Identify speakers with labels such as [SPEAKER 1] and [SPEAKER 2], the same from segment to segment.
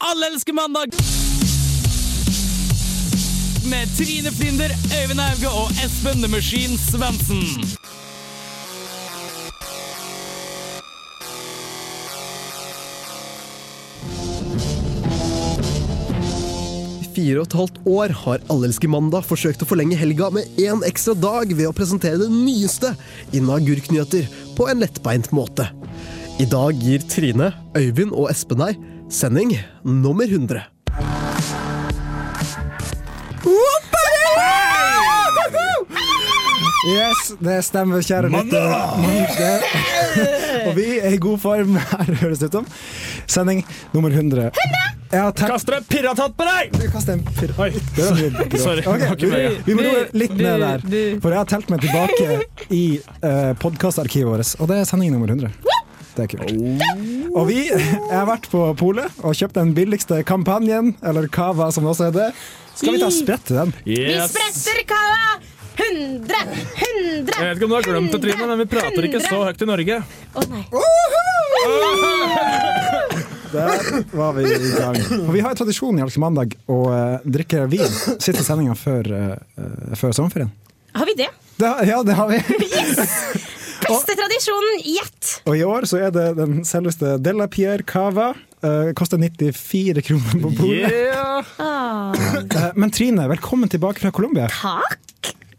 [SPEAKER 1] Alle elsker mandag! Med Trine Flinder, Øyvind Auge og Espen The Machine Svendsen.
[SPEAKER 2] fire og et halvt år har Allelske mandag forsøkt å forlenge helga med én ekstra dag ved å presentere det nyeste innen agurknyheter på en lettbeint måte. I dag gir Trine, Øyvind og Espen deg sending nummer 100.
[SPEAKER 3] Yes, det stemmer, kjære lyttere. Det- Og vi er i god form her, høres det ut som. Sending nummer 100. Ja, takk.
[SPEAKER 4] Kaster en pirrahatt på deg!
[SPEAKER 3] Kast en fyr.
[SPEAKER 4] Oi,
[SPEAKER 3] Det var mye bråk.
[SPEAKER 4] Sorry,
[SPEAKER 3] Ok,
[SPEAKER 4] det var ikke meningen.
[SPEAKER 3] vi må roe litt ned der, for jeg har telt meg tilbake i uh, podkastarkivet vårt, og det er sending nummer 100. Det er kult. Og vi Jeg har vært på polet og kjøpt den billigste kampanjen, eller Cava som det også heter. Skal vi ta og sprette den?
[SPEAKER 5] Vi
[SPEAKER 4] Yes.
[SPEAKER 5] spretter kava! 100, 100
[SPEAKER 4] Jeg vet ikke om du har glemt det, Trine, men vi prater ikke så høyt i Norge.
[SPEAKER 5] Å nei.
[SPEAKER 3] Der var vi i gang. Og vi har jo tradisjon i Alke Mandag å eh, drikke vin siste sendinga før, eh, eh, før sommerferien.
[SPEAKER 5] Har vi det?
[SPEAKER 3] Det, ja, det har vi.
[SPEAKER 5] Beste tradisjonen gjett!
[SPEAKER 3] Og i år så er det den selveste Della Pierre Cava. Eh, koster 94 kroner på bordet.
[SPEAKER 4] Yeah.
[SPEAKER 5] Ah,
[SPEAKER 3] Eh, men Trine, velkommen tilbake fra Colombia.
[SPEAKER 5] Takk!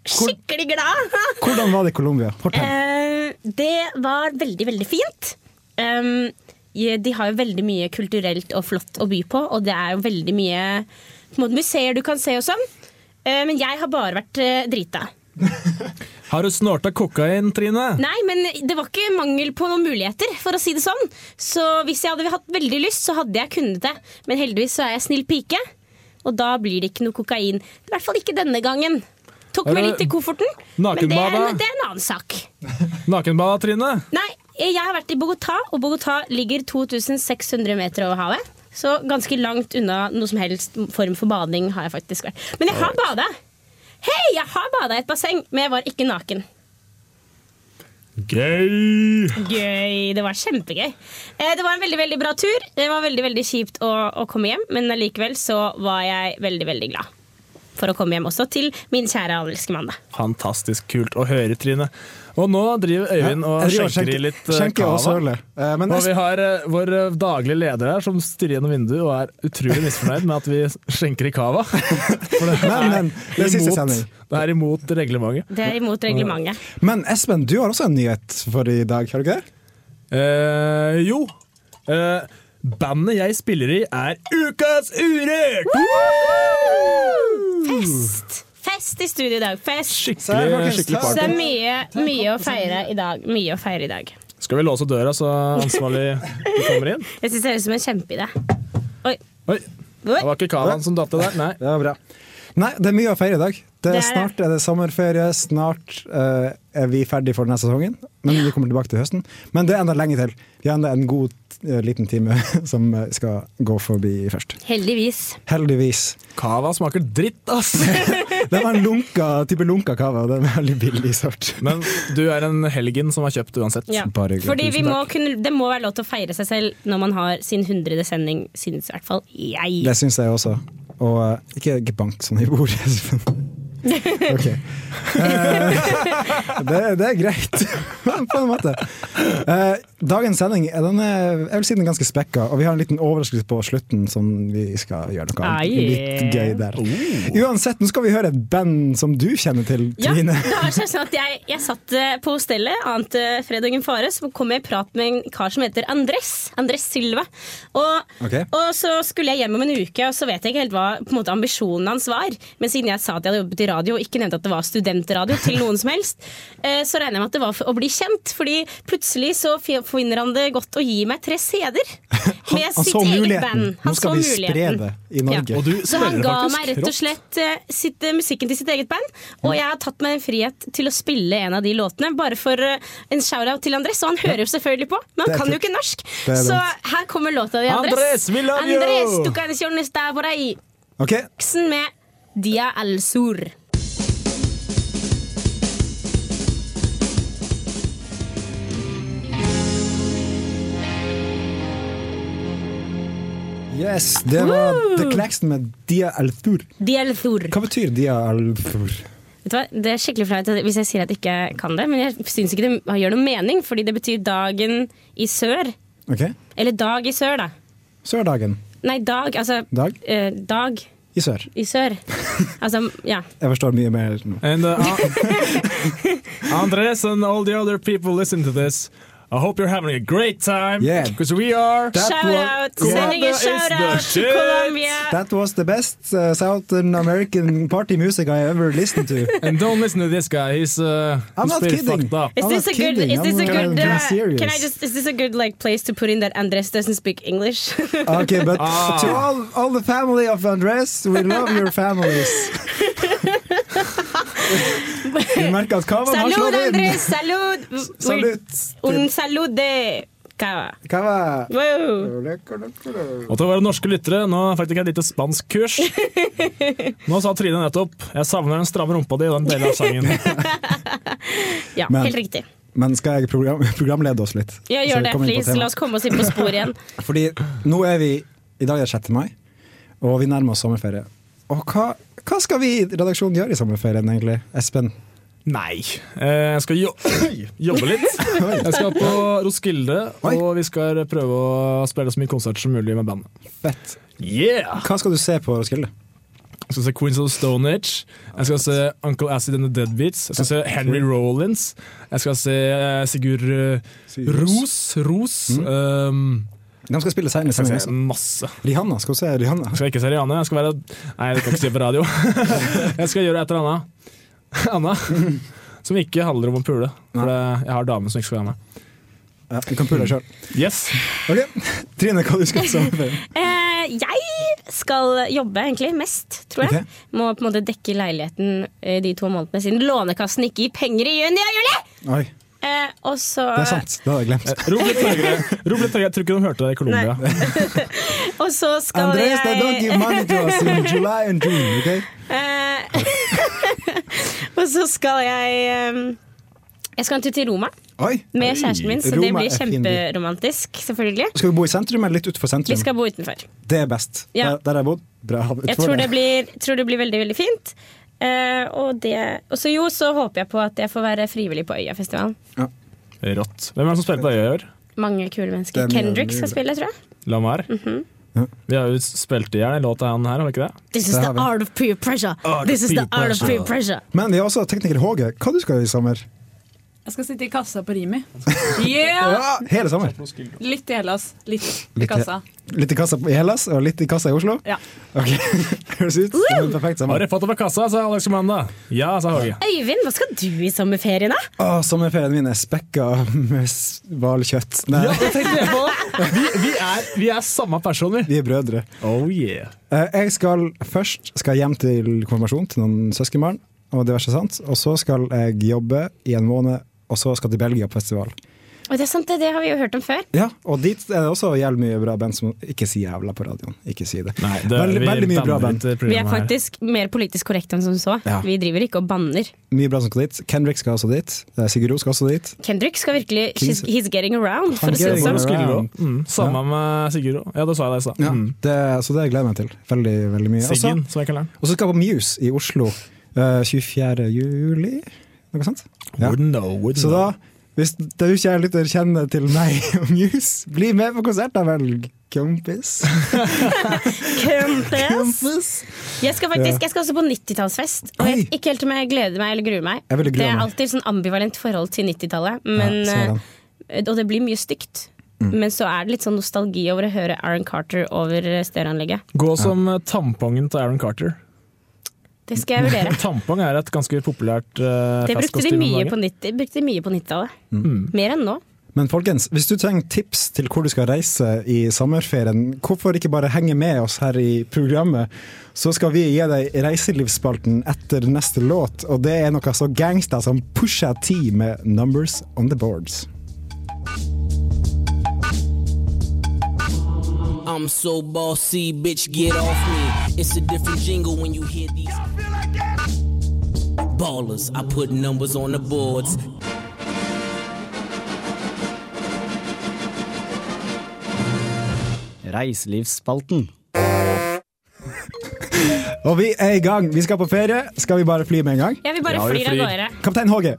[SPEAKER 5] Skikkelig glad!
[SPEAKER 3] Hvordan var det i Colombia? Fortell.
[SPEAKER 5] Eh, det var veldig, veldig fint. Um, je- de har jo veldig mye kulturelt og flott å by på, og det er jo veldig mye på en måte, museer du kan se og sånn. Eh, men jeg har bare vært eh, drita.
[SPEAKER 4] Har du snorta kokain, Trine?
[SPEAKER 5] Nei, men det var ikke mangel på noen muligheter, for å si det sånn. Så hvis jeg hadde hatt veldig lyst, så hadde jeg kunnet det. Men heldigvis så er jeg snill pike, og da blir det ikke noe kokain. I hvert fall ikke denne gangen. Tok
[SPEAKER 4] Er
[SPEAKER 5] meg
[SPEAKER 4] det
[SPEAKER 5] litt i kofferten, men det er,
[SPEAKER 4] nakenbada?
[SPEAKER 5] en, det er en annen sak.
[SPEAKER 4] Nakenbada, Trine?
[SPEAKER 5] Nei, jeg har vært i Bogotá, og Bogotá ligger 2600 meter over havet. Så ganske langt unna noe som helst form for bading har jeg faktisk vært. Men jeg har bada! Hei, jeg har bada i et basseng, men jeg var ikke naken.
[SPEAKER 4] Gøy!
[SPEAKER 5] Gøy. Det var kjempegøy. Eh, Det var en veldig veldig bra tur. Det var veldig veldig kjipt å, å komme hjem, men allikevel så var jeg veldig veldig glad for å komme hjem også til min kjære allelske mandag.
[SPEAKER 4] Fantastisk kult å høre, Trine. Og nå driver Øyvind og
[SPEAKER 3] Jeg driver og
[SPEAKER 4] skjenker i litt eh,
[SPEAKER 3] skjenker og
[SPEAKER 4] cava.
[SPEAKER 3] søler. Eh, men
[SPEAKER 4] Og vi har eh, vår eh, daglige leder her som stirrer gjennom vinduet og er utrolig misfornøyd med at vi skjenker i cava. For det
[SPEAKER 3] Men, men, det er siste sending.
[SPEAKER 4] det er imot reglementet.
[SPEAKER 5] Det er imot reglementet.
[SPEAKER 3] Men Espen, du har også en nyhet for i dag, har du ikke det?
[SPEAKER 4] Eh, jo. Eh, bandet jeg spiller i, er Ukas Urørt!
[SPEAKER 5] Fest! Fest i studio i dag. Fest!
[SPEAKER 3] Se her,
[SPEAKER 4] Skikkelig,
[SPEAKER 3] folkens,
[SPEAKER 4] skikkelig
[SPEAKER 5] Så det er
[SPEAKER 4] party.
[SPEAKER 5] mye, mye å feire i dag. Mye å feire i dag.
[SPEAKER 4] Skal vi låse døra så ansvarlig kommer inn?
[SPEAKER 5] Jeg syns det høres ut som en kjempeidé. Oi.
[SPEAKER 4] Oi, det var ikke cavaen som datt det der. Nei.
[SPEAKER 3] Det var bra. Nei, det er mye å feire i dag. Det
[SPEAKER 5] Det er
[SPEAKER 3] er
[SPEAKER 5] det.
[SPEAKER 3] snart er det sommerferie, snart eh, er vi ferdig for denne sesongen. Men vi kommer tilbake til høsten. Men det er enda lenge til. Vi har enda en god eh, liten time som eh, skal gå forbi først.
[SPEAKER 5] Heldigvis.
[SPEAKER 3] Heldigvis.
[SPEAKER 4] Cava smaker dritt, ass!
[SPEAKER 3] Det var en lunka, type lunka kava. Det er en veldig billig sort.
[SPEAKER 4] Men du er en helgen som har kjøpt uansett.
[SPEAKER 5] Ja.
[SPEAKER 3] Bare hyggelig.
[SPEAKER 5] Fordi vi
[SPEAKER 3] Tusen
[SPEAKER 5] må kunne, Det må være lov til å feire seg selv når man har sin hundrede sending, synes i hvert fall jeg.
[SPEAKER 3] Det syns jeg også. Og eh, ikke, ikke bank sånn i bordet. Espen. Ok. Eh, det, det er greit, på en måte. Eh, dagens sending eh, den er, jeg vil si den er ganske spekka, og vi har en liten overraskelse på slutten som vi skal gjøre noe
[SPEAKER 5] Ah,
[SPEAKER 3] annet.
[SPEAKER 5] yeah.
[SPEAKER 3] litt gøy der. Uansett, nå skal vi høre et band som du kjenner til,
[SPEAKER 5] Ja,
[SPEAKER 3] Trine.
[SPEAKER 5] det har seg sånn at jeg, jeg satt eh, på hostellet annet eh, fredagen fare, så kom jeg i prat med en kar som heter Andres. Andres Silva. Og,
[SPEAKER 3] Ok.
[SPEAKER 5] og så skulle jeg hjem om en uke, og så vet jeg ikke helt hva på en måte, ambisjonen hans var. Men siden jeg sa at jeg hadde jobbet i radio, og ikke nevnte at det var studentradio til noen som helst, eh, så regner jeg med at det var for å bli kjent. Fordi plutselig så fi- finner han det godt å gi meg tre CD-er. Med
[SPEAKER 3] Han så muligheten. Nå
[SPEAKER 5] Han
[SPEAKER 3] skal
[SPEAKER 5] så
[SPEAKER 3] vi spre
[SPEAKER 5] muligheten.
[SPEAKER 3] det i Norge.
[SPEAKER 5] Ja.
[SPEAKER 4] Og du
[SPEAKER 5] Så han
[SPEAKER 4] spiller
[SPEAKER 5] ga
[SPEAKER 4] faktisk
[SPEAKER 5] meg rett og
[SPEAKER 4] rått.
[SPEAKER 5] slett eh, sitt, eh, musikken til sitt eget band.
[SPEAKER 3] Mm.
[SPEAKER 5] Og jeg har tatt meg en frihet til å spille en av de låtene, bare for eh, en shout-out til Andres. Og han hører jo selvfølgelig på, men
[SPEAKER 3] Det er
[SPEAKER 5] han kan jo
[SPEAKER 3] kult.
[SPEAKER 5] ikke norsk.
[SPEAKER 3] Det er
[SPEAKER 5] Så
[SPEAKER 3] det.
[SPEAKER 5] her kommer låta di, Andres.
[SPEAKER 4] Andres, we love you!
[SPEAKER 5] Andres, du kan ikke gjøre neste på deg.
[SPEAKER 3] Ok,
[SPEAKER 5] Ksen med Dia al Sur.
[SPEAKER 3] Yes, det var The Claxton med Dia El Thur.
[SPEAKER 5] Diel Thor.
[SPEAKER 3] Hva betyr Dia El Thur?
[SPEAKER 5] Vet du hva? Det er skikkelig flaut at- hvis jeg sier at jeg ikke kan det, men jeg syns ikke det gjør noe mening, fordi det betyr dagen i sør.
[SPEAKER 3] Ok,
[SPEAKER 5] Eller dag i sør, da.
[SPEAKER 3] Sørdagen.
[SPEAKER 5] Nei, dag, altså
[SPEAKER 3] Dag
[SPEAKER 5] eh, Dag
[SPEAKER 3] i sør.
[SPEAKER 5] i sør. Altså, ja.
[SPEAKER 3] Jeg forstår mye mer nå.
[SPEAKER 4] And uh, Andres and all the other people listening to this, I hope you're having a great time.
[SPEAKER 3] Yeah.
[SPEAKER 4] Because we are.
[SPEAKER 3] That was-
[SPEAKER 5] Shout-out! Sending
[SPEAKER 4] Colombia
[SPEAKER 5] en
[SPEAKER 4] is the
[SPEAKER 5] shout-out til
[SPEAKER 4] shit.
[SPEAKER 5] Colombia!
[SPEAKER 3] That was the best uh, Southern American party music I ever listened to.
[SPEAKER 4] And don't listen to this guy. He's uh,
[SPEAKER 3] I'm
[SPEAKER 4] he's
[SPEAKER 3] not
[SPEAKER 4] pretty
[SPEAKER 3] kidding.
[SPEAKER 4] fucked up.
[SPEAKER 5] Is
[SPEAKER 3] I'm
[SPEAKER 5] this a
[SPEAKER 3] not
[SPEAKER 5] good?
[SPEAKER 3] kidding.
[SPEAKER 5] Is this a
[SPEAKER 3] I'm, uh,
[SPEAKER 5] good?
[SPEAKER 3] being
[SPEAKER 5] Uh,
[SPEAKER 3] serious.
[SPEAKER 5] can I just? Is this a good like place to put in that Andres doesn't speak English?
[SPEAKER 3] Okay, but
[SPEAKER 4] Ah.
[SPEAKER 3] to all, all the family of Andres, we love your families. Vi merker at Kavan har
[SPEAKER 5] salud,
[SPEAKER 3] slått inn.
[SPEAKER 5] Andres! Salud!
[SPEAKER 3] Salut.
[SPEAKER 5] Un salud de cava.
[SPEAKER 3] Kava.
[SPEAKER 5] Wow.
[SPEAKER 4] Og til våre norske lyttere, nå fikk jeg et lite spanskkurs. Nå sa Trine nettopp 'Jeg savner den stramme rumpa di' i den delen av sangen.
[SPEAKER 5] Ja,
[SPEAKER 3] Men-
[SPEAKER 5] helt riktig.
[SPEAKER 3] Men skal jeg program programlede oss litt?
[SPEAKER 5] Ja,
[SPEAKER 3] Så
[SPEAKER 5] gjør
[SPEAKER 3] vi
[SPEAKER 5] det,
[SPEAKER 3] kommer inn på
[SPEAKER 5] please.
[SPEAKER 3] tema?
[SPEAKER 5] La oss komme oss inn på sporet igjen.
[SPEAKER 3] Fordi nå er vi I dag er det 6. mai, og vi nærmer oss sommerferie. Og hva, hva skal vi i redaksjonen gjøre i sommerferien, egentlig? Espen?
[SPEAKER 4] Nei. Eh, Jeg skal jo jobbe litt. Jeg skal på Roskilde,
[SPEAKER 3] Oi.
[SPEAKER 4] og vi skal prøve å spille så mye konserter som mulig med bandet.
[SPEAKER 3] Fett.
[SPEAKER 4] Yeah!
[SPEAKER 3] Hva skal du se på Roskilde?
[SPEAKER 4] Jeg skal se Queens of the Stone Age. Jeg skal se Uncle Acid and the Deadbeats. Jeg skal se Henry Rollins. Jeg skal se eh, Sigurd eh, Ros. Ros. Um,
[SPEAKER 3] De skal spille
[SPEAKER 4] jeg
[SPEAKER 3] seinere.
[SPEAKER 4] skal se masse.
[SPEAKER 3] Rihanna, skal du se Rihanna?
[SPEAKER 4] Jeg skal ikke se Rihanne. Jeg skal være Nei, det kan jeg ikke si på radio. Jeg skal gjøre et eller annet. Anna. Som ikke handler om å pule. For det- jeg har damen som ikke skal være med.
[SPEAKER 3] Ja, du kan pule deg sjøl.
[SPEAKER 4] Yes.
[SPEAKER 3] Ok, Trine, hva du skal i sommerferien?
[SPEAKER 5] Eh, jeg skal jobbe egentlig mest, tror jeg.
[SPEAKER 3] Ok.
[SPEAKER 5] Må på en måte dekke leiligheten eh, de to månedene siden Lånekassen ikke gir penger i juni og juli!
[SPEAKER 3] Oi,
[SPEAKER 5] Eh, og så,
[SPEAKER 3] det er sant. Det hadde jeg glemt.
[SPEAKER 4] Rop litt høyere. Rop litt høyere. Jeg tror ikke de hørte deg i Colombia.
[SPEAKER 5] og så skal
[SPEAKER 3] Andres, they don't
[SPEAKER 5] jeg
[SPEAKER 3] give money to us in July and June, ok?
[SPEAKER 5] eh, Og så skal jeg eh, Jeg skal en tur til Roma
[SPEAKER 3] Oi.
[SPEAKER 5] med kjæresten min, så det
[SPEAKER 3] Roma er
[SPEAKER 5] blir
[SPEAKER 3] fin by.
[SPEAKER 5] kjemperomantisk, selvfølgelig.
[SPEAKER 3] Skal vi bo i sentrum eller litt utenfor
[SPEAKER 5] Vi
[SPEAKER 3] sentrum?
[SPEAKER 5] skal bo utenfor.
[SPEAKER 3] Det er best.
[SPEAKER 5] Ja.
[SPEAKER 3] Der, der har jeg bodd. Bra.
[SPEAKER 5] Jeg tror det blir, tror det blir veldig, veldig fint. Eh, og, det, og så jo, så håper jeg på at jeg får være frivillig på Øyafestivalen.
[SPEAKER 4] Rått. Hvem er det som spiller på øya i år?
[SPEAKER 5] Mange kule mennesker.
[SPEAKER 3] Det er mye
[SPEAKER 5] Kendrick skal
[SPEAKER 3] mulig.
[SPEAKER 5] spille, tror jeg.
[SPEAKER 4] Lamar?
[SPEAKER 5] Mhm.
[SPEAKER 4] Vi har jo spilt i hjel en låt av han her, har vi ikke det?
[SPEAKER 5] This
[SPEAKER 3] is Det har the vi.
[SPEAKER 5] art of peer pressure.
[SPEAKER 4] Art of This is peer the art of pressure. peer
[SPEAKER 3] Men vi har også tekniker Håge. Hva du skal i sommer?
[SPEAKER 6] Jeg skal sitte i kassa på Rimi. Yeah!
[SPEAKER 3] Ja, hele sommer.
[SPEAKER 6] Litt i Hellas, litt i
[SPEAKER 3] Litt i-
[SPEAKER 6] kassa.
[SPEAKER 3] Litt i kassa i Hellas og litt i kassa i Oslo?
[SPEAKER 6] Ja.
[SPEAKER 3] Ok, Høres ut som en perfekt
[SPEAKER 4] Har
[SPEAKER 3] sommer.
[SPEAKER 4] dere fått det på kassa, sa Alex Comanda. Ja, sa Håge.
[SPEAKER 5] Øyvind, hva skal du i sommerferien, da?
[SPEAKER 3] Å, sommerferien min er spekka med s- hvalkjøtt. Nei,
[SPEAKER 4] Ja, det tenkte jeg på. Vi, vi, er, vi er samme person, vi.
[SPEAKER 3] vi er brødre.
[SPEAKER 4] Oh yeah.
[SPEAKER 3] Eh, Jeg skal først skal jeg hjem til konfirmasjon til noen søskenbarn og diverse sant. Og så skal jeg jobbe i en måned, og så skal jeg til Belgia på festival.
[SPEAKER 5] Og det er sant, det, det har vi jo hørt om før.
[SPEAKER 3] Ja, og dit er det også jævlig mye bra band som Ikke si jævla på radioen. Ikke si det.
[SPEAKER 4] Nei, det,
[SPEAKER 3] veldig,
[SPEAKER 4] vi
[SPEAKER 3] veldig mye bra
[SPEAKER 4] banner
[SPEAKER 3] band.
[SPEAKER 4] litt i
[SPEAKER 5] Vi er
[SPEAKER 4] programmet her.
[SPEAKER 5] faktisk mer politisk korrekte enn som så.
[SPEAKER 3] Ja.
[SPEAKER 5] Vi driver ikke og banner.
[SPEAKER 3] Mye bra som skal dit. Kendrick skal også dit. Eh, Sigurd O skal også dit.
[SPEAKER 5] Kendrick skal virkelig
[SPEAKER 3] Kings-
[SPEAKER 5] she's- He's getting around, for
[SPEAKER 3] Han
[SPEAKER 5] å si det
[SPEAKER 3] getting
[SPEAKER 5] sånn.
[SPEAKER 3] around.
[SPEAKER 4] Roskilde også. Mm. Samme med Sigurd òg. Ja, det sa jeg det i stad.
[SPEAKER 3] Ja,
[SPEAKER 4] Mm.
[SPEAKER 3] det, så det gleder jeg meg til. Veldig, veldig mye. Og så-
[SPEAKER 4] Siggen, som jeg kaller den.
[SPEAKER 3] Og så skal jeg på Muse i Oslo eh, 24. juli. Noe sånt? Ja.
[SPEAKER 4] Wouldn't know, wouldn't
[SPEAKER 3] Så da,
[SPEAKER 4] know.
[SPEAKER 3] hvis du ikke er litt kjenne til meg og Muse, bli med på konsert da vel, kompis.
[SPEAKER 5] Campus. Jeg skal faktisk, jeg skal også på 90-tallsfest. Og jeg
[SPEAKER 3] Oi.
[SPEAKER 5] vet ikke helt om jeg gleder meg eller gruer meg.
[SPEAKER 3] Jeg ville grue
[SPEAKER 5] det er
[SPEAKER 3] meg.
[SPEAKER 5] alltid sånn ambivalent forhold til 90-tallet.
[SPEAKER 3] Ja, sånn
[SPEAKER 5] Men,
[SPEAKER 3] ser den.
[SPEAKER 5] eh, og det blir mye stygt.
[SPEAKER 3] Mm.
[SPEAKER 5] Men så er det litt sånn nostalgi over å høre Aaron Carter over eh, stereoanlegget.
[SPEAKER 4] Gå som eh, tampongen til Aaron Carter.
[SPEAKER 5] Det skal jeg vurdere.
[SPEAKER 4] Tampong er et ganske populært uh,
[SPEAKER 5] Det brukte de mye på 90 det brukte de mye på 90-tallet.
[SPEAKER 3] Mm.
[SPEAKER 5] Mer enn nå.
[SPEAKER 3] Men folkens, hvis du trenger tips til hvor du skal reise i sommerferien, hvorfor ikke bare henge med oss her i programmet? Så skal vi gi deg reiselivsspalten etter neste låt, og det er noe så gangsta som Pusha T med Numbers On The Boards.
[SPEAKER 7] I'm so bossy, bitch, get off me. It's a different jingle when you hear these. Ballers, I put numbers on the boards.
[SPEAKER 8] Reiselivsspalten.
[SPEAKER 3] Og vi er i gang. Vi skal på ferie. Skal vi bare fly med en gang?
[SPEAKER 5] Jeg vil bare
[SPEAKER 4] Ja, vi
[SPEAKER 5] flyr av
[SPEAKER 4] flyr.
[SPEAKER 5] gårde.
[SPEAKER 3] Kaptein Håge.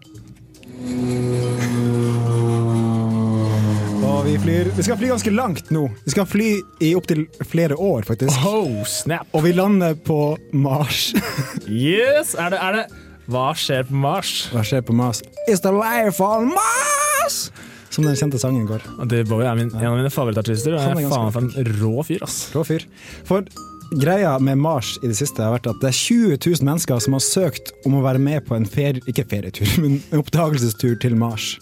[SPEAKER 3] Og vi flyr Vi skal fly ganske langt nå. Vi skal fly i opptil flere år, faktisk.
[SPEAKER 4] Oh, snap.
[SPEAKER 3] Og vi lander på Mars.
[SPEAKER 4] Yes! Er det, er det Hva skjer på Mars?
[SPEAKER 3] Hva skjer på Mars? It's the life on Mars! Som den kjente sangen går.
[SPEAKER 4] Dave Bowie er min, en av mine favorittartister. Og
[SPEAKER 3] Han er
[SPEAKER 4] jeg er faen
[SPEAKER 3] ganske
[SPEAKER 4] for en rå fyr, ass.
[SPEAKER 3] Rå fyr. For greia med Mars i det siste har vært at det er 20 000 mennesker som har søkt om å være med på en ferie... Ikke ferietur, men en oppdagelsestur til Mars.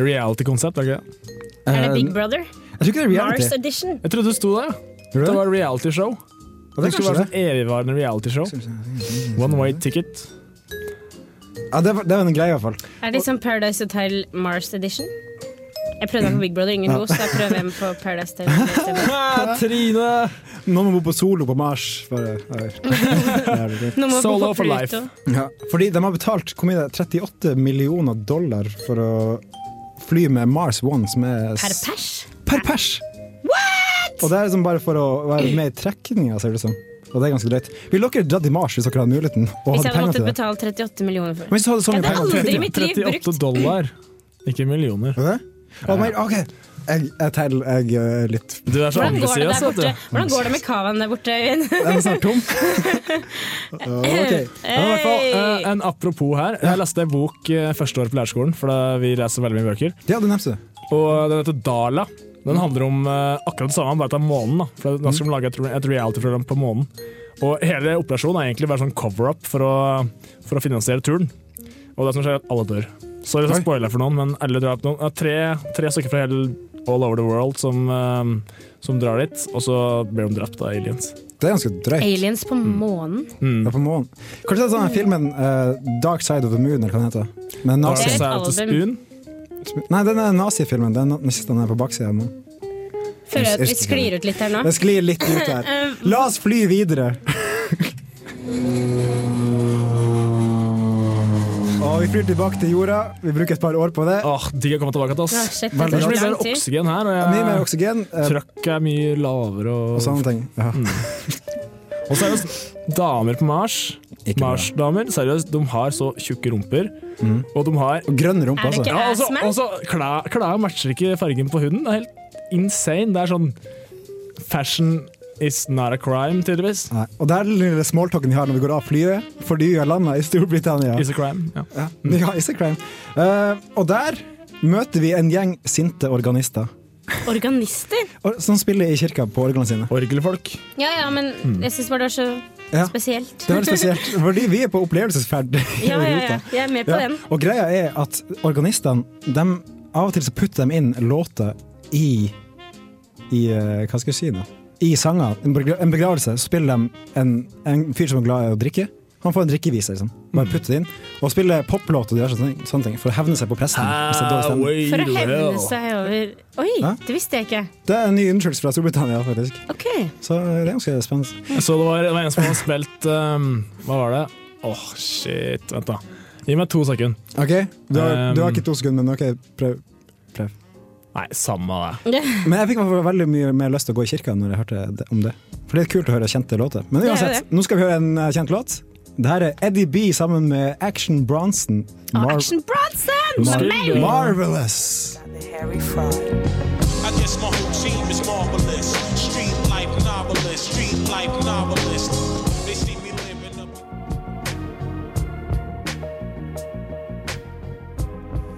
[SPEAKER 4] Reality-konsept, er det ikke det?
[SPEAKER 5] Er det Big Brother?
[SPEAKER 3] Jeg tror ikke det Eh, er
[SPEAKER 5] Mars
[SPEAKER 3] reality.
[SPEAKER 5] Edition?
[SPEAKER 4] Jeg trodde det sto der.
[SPEAKER 3] Tror du
[SPEAKER 4] Det
[SPEAKER 3] det?
[SPEAKER 4] var realityshow.
[SPEAKER 3] Ja,
[SPEAKER 4] Det
[SPEAKER 3] det er
[SPEAKER 4] skulle
[SPEAKER 3] kanskje
[SPEAKER 4] være
[SPEAKER 3] det.
[SPEAKER 4] sånn evigvarende realityshow. One way ticket.
[SPEAKER 3] Ja, det, var- det var en greie, i hvert fall.
[SPEAKER 5] Er det liksom Paradise Hotel Mars Edition? Jeg prøvde meg på Big Brother, ingen lo, så jeg prøver en på Paradise Hotel.
[SPEAKER 4] Trine!
[SPEAKER 3] Noen må bo på solo på Mars. Bare, ja, vel.
[SPEAKER 5] Nå må Solo
[SPEAKER 4] Solo for
[SPEAKER 5] for
[SPEAKER 4] life.
[SPEAKER 5] Pluto.
[SPEAKER 3] Ja, fordi de har betalt hvor mye det er, 38 millioner dollar for å fly med Mars One, som er
[SPEAKER 5] Per pers?
[SPEAKER 3] Per pers! Og det er liksom bare for å være med i trekninga, ser det ut som. Og det er ganske drøyt. Ville dere dratt i Mars hvis dere hadde muligheten? Og
[SPEAKER 5] Hvis
[SPEAKER 3] hadde
[SPEAKER 5] jeg hadde
[SPEAKER 3] penger
[SPEAKER 5] måttet
[SPEAKER 3] til det?
[SPEAKER 5] betale 38 millioner for
[SPEAKER 3] Men hvis du hadde så mye
[SPEAKER 5] Jeg hadde
[SPEAKER 3] penger til
[SPEAKER 5] aldri i
[SPEAKER 3] det.
[SPEAKER 5] mitt liv
[SPEAKER 4] 38
[SPEAKER 5] brukt.
[SPEAKER 4] dollar, ikke millioner.
[SPEAKER 3] Vet du det? Og mer- OK, jeg, jeg teller jeg eh, litt.
[SPEAKER 4] Du er så
[SPEAKER 5] Hvordan går det
[SPEAKER 4] ambisiøs,
[SPEAKER 5] der
[SPEAKER 4] vet
[SPEAKER 5] borte?
[SPEAKER 4] du.
[SPEAKER 5] Hvordan går det med kavaen der borte, Øyvind?
[SPEAKER 3] Den er snart tom. OK.
[SPEAKER 4] Ja, i hvert fall,
[SPEAKER 5] Hey!
[SPEAKER 4] eh, en apropos her. Jeg leste en bok eh, første år på lærerskolen, for da vi leser veldig mye bøker.
[SPEAKER 3] Ja, du nevnte det.
[SPEAKER 4] Og den heter Dala. Den handler om eh, akkurat det samme, bare at det er månen. Da
[SPEAKER 3] Mm.
[SPEAKER 4] For da skal de lage et, et realityprogram på månen. Og hele operasjonen er egentlig bare sånn cover-up for, å- for å finansiere turen. Og det som skjer, er at alle dør. Sorry for å spoile for noen, men alle drar på noen. Det er tre, tre stykker fra hele all over the world som, eh, som drar dit, og så blir de drept av aliens.
[SPEAKER 3] Det er ganske drøyt.
[SPEAKER 5] Aliens på månen?
[SPEAKER 3] Det er på månen. Kanskje det er sånn filmen eh, Dark Side of the Moon, eller hva den heter. Med
[SPEAKER 4] Dark
[SPEAKER 3] nazi.
[SPEAKER 5] Det er et
[SPEAKER 4] Side of the
[SPEAKER 5] album.
[SPEAKER 4] Spoon.
[SPEAKER 3] Nei, den er nazifilmen. Den, den siste den er på baksida. nå.
[SPEAKER 5] Føler jeg at vi
[SPEAKER 3] Elsker
[SPEAKER 5] sklir ut litt her nå.
[SPEAKER 3] Den sklir litt ut her. La oss fly videre! Og vi flyr tilbake til jorda. Vi bruker et par år på det.
[SPEAKER 4] Åh, Digg å komme tilbake
[SPEAKER 5] Ja,
[SPEAKER 4] til oss.
[SPEAKER 5] shit,
[SPEAKER 3] Veldig
[SPEAKER 5] det
[SPEAKER 4] Det
[SPEAKER 5] tar
[SPEAKER 4] blir
[SPEAKER 5] lang
[SPEAKER 4] mer
[SPEAKER 5] tid.
[SPEAKER 4] oksygen her, og
[SPEAKER 3] Mye mer
[SPEAKER 4] jeg,
[SPEAKER 3] oksygen eh,
[SPEAKER 4] trøkk er mye lavere.
[SPEAKER 3] og sånn sånne ting. Ja.
[SPEAKER 4] Og seriøst, damer på Mars,
[SPEAKER 3] Ikke bra. Mm.
[SPEAKER 4] Mars-damer, seriøst, de har så tjukke rumper. Og de har
[SPEAKER 3] Og grønn rumpe,
[SPEAKER 5] Er det
[SPEAKER 3] altså.
[SPEAKER 5] ikke
[SPEAKER 4] ja, altså,
[SPEAKER 5] Assman?
[SPEAKER 4] altså, klær, klær matcher ikke fargen på huden. Det er helt insane. Det er sånn Fashion is not a crime, tydeligvis.
[SPEAKER 3] Nei. Og det er den lille smalltalken vi har når vi går av flyet, fordi vi har landa i Storbritannia.
[SPEAKER 4] Is a crime. Ja.
[SPEAKER 3] Ja, ja, it's a crime. Eh, og der møter vi en gjeng sinte organister
[SPEAKER 5] Organister?
[SPEAKER 3] og- som spiller i kirka på orglene sine.
[SPEAKER 4] Orgelfolk.
[SPEAKER 5] Ja ja, men jeg syns bare det var så
[SPEAKER 3] Ja.
[SPEAKER 5] spesielt.
[SPEAKER 3] Det er veldig spesielt, fordi vi er på opplevelsesferd. i
[SPEAKER 5] Ja, ja, ja.
[SPEAKER 3] Europa.
[SPEAKER 5] Jeg er med på
[SPEAKER 3] Ja,
[SPEAKER 5] den.
[SPEAKER 3] Og greia er at organistene, dem- av og til så putter de inn låter i, i eh, Hva skal jeg si nå? I sanger. En begra- en begravelse så spiller de en, en fyr som er glad i å drikke. Han får en drikkevise, liksom. Bare putter det inn. Og spiller poplåt og diverse sånne, sånne ting for å hevne seg på presten. hvis det er dårlig stemning.
[SPEAKER 5] For å hevne seg over Oi,
[SPEAKER 3] Hæ?
[SPEAKER 5] det visste jeg ikke.
[SPEAKER 3] Det er en ny undersøkelse fra Storbritannia, faktisk.
[SPEAKER 5] OK.
[SPEAKER 3] Så det er ganske spennende.
[SPEAKER 4] Jeg så det var, det var en som hadde spilt um, Hva var det? Åh, shit. Vent, da. Gi meg to sekunder.
[SPEAKER 3] OK, du har,
[SPEAKER 4] Um,
[SPEAKER 3] du har ikke to sekunder, men OK, prøv.
[SPEAKER 4] Nei, samme det.
[SPEAKER 3] Men jeg fikk i hvert fall veldig mye mer lyst til å gå i kirka når jeg hørte det, om det. For det er kult å høre kjente låter. Men
[SPEAKER 5] Det er
[SPEAKER 3] uansett, nå skal vi høre en eh, kjent låt. Det her er Eddie B sammen med Action Bronson.
[SPEAKER 5] Ah,
[SPEAKER 3] Mar-
[SPEAKER 5] Action Bronson!
[SPEAKER 4] Mar-
[SPEAKER 5] Amazing!
[SPEAKER 3] Marvelous!
[SPEAKER 9] I guess my whole team is marvelous. Street life novelist, street life novelist. They see me living up.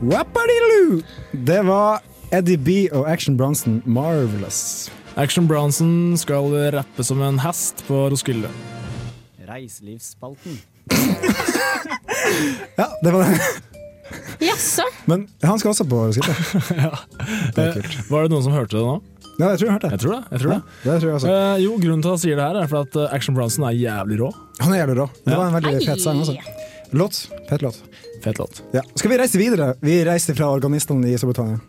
[SPEAKER 3] Wappadiloo! Det var Eddie B og Action Bronson, Marvelous.
[SPEAKER 4] Action Bronson skal rappe som en hest på Roskilde.
[SPEAKER 8] Reiselivsspalten.
[SPEAKER 3] Ja, det var det.
[SPEAKER 5] Jaså?
[SPEAKER 3] Men han skal også på skrittet. Det er kult.
[SPEAKER 4] Var det noen som hørte det nå?
[SPEAKER 3] Ja, jeg tror jeg hørte det.
[SPEAKER 4] Jeg tror det. jeg tror det.
[SPEAKER 3] Det tror jeg også.
[SPEAKER 4] Eh, jo, grunnen til at han sier det her, er for at eh, Action Bronson er jævlig rå.
[SPEAKER 3] Han er jævlig rå. Det
[SPEAKER 4] Ja.
[SPEAKER 3] var en veldig fet sang altså. også.
[SPEAKER 5] Ei.
[SPEAKER 3] Låt. Fet låt.
[SPEAKER 4] Fet låt.
[SPEAKER 3] Ja. Skal vi reise videre? Vi reiser fra organistene i Storbritannia.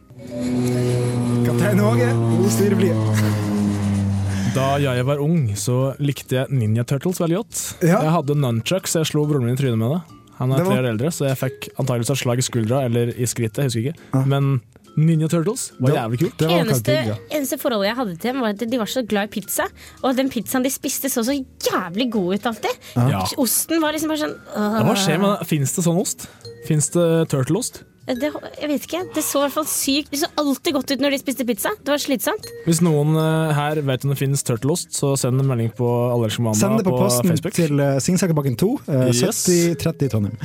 [SPEAKER 3] Kaptein Håge, du styrer flyet.
[SPEAKER 4] Da jeg var ung, så likte jeg Ninja Turtles veldig godt.
[SPEAKER 3] Ja.
[SPEAKER 4] Jeg hadde nunchucks, jeg slo broren min i trynet med det. Han er
[SPEAKER 3] Det var-
[SPEAKER 4] tre år eldre, så jeg fikk antakeligvis et slag i skuldra eller i skrittet, jeg husker ikke. Men Ninja Turtles var
[SPEAKER 3] Det-
[SPEAKER 4] jævlig kult.
[SPEAKER 3] Det var
[SPEAKER 5] eneste,
[SPEAKER 3] kanskje digg, ja.
[SPEAKER 5] eneste forholdet jeg hadde til dem, var at de var så glad i pizza. Og at den pizzaen de spiste, så så jævlig god ut alltid.
[SPEAKER 4] Ja.
[SPEAKER 5] Osten var liksom bare sånn øh,
[SPEAKER 4] Ja, Hva skjer med det? Fins det sånn ost? Fins det turtleost?
[SPEAKER 5] det, Jeg vet ikke. Det så i hvert fall sykt Det så alltid godt ut når de spiste pizza. Det var slitsomt.
[SPEAKER 4] Hvis noen eh, her vet om det finnes turtleost, så send en melding på Allergisk
[SPEAKER 3] Send
[SPEAKER 4] Mandag
[SPEAKER 3] det på, posten
[SPEAKER 4] Facebook.
[SPEAKER 3] til uh, Singsakerbakken 2, eh,
[SPEAKER 4] Yes.
[SPEAKER 3] 7030 Trondheim.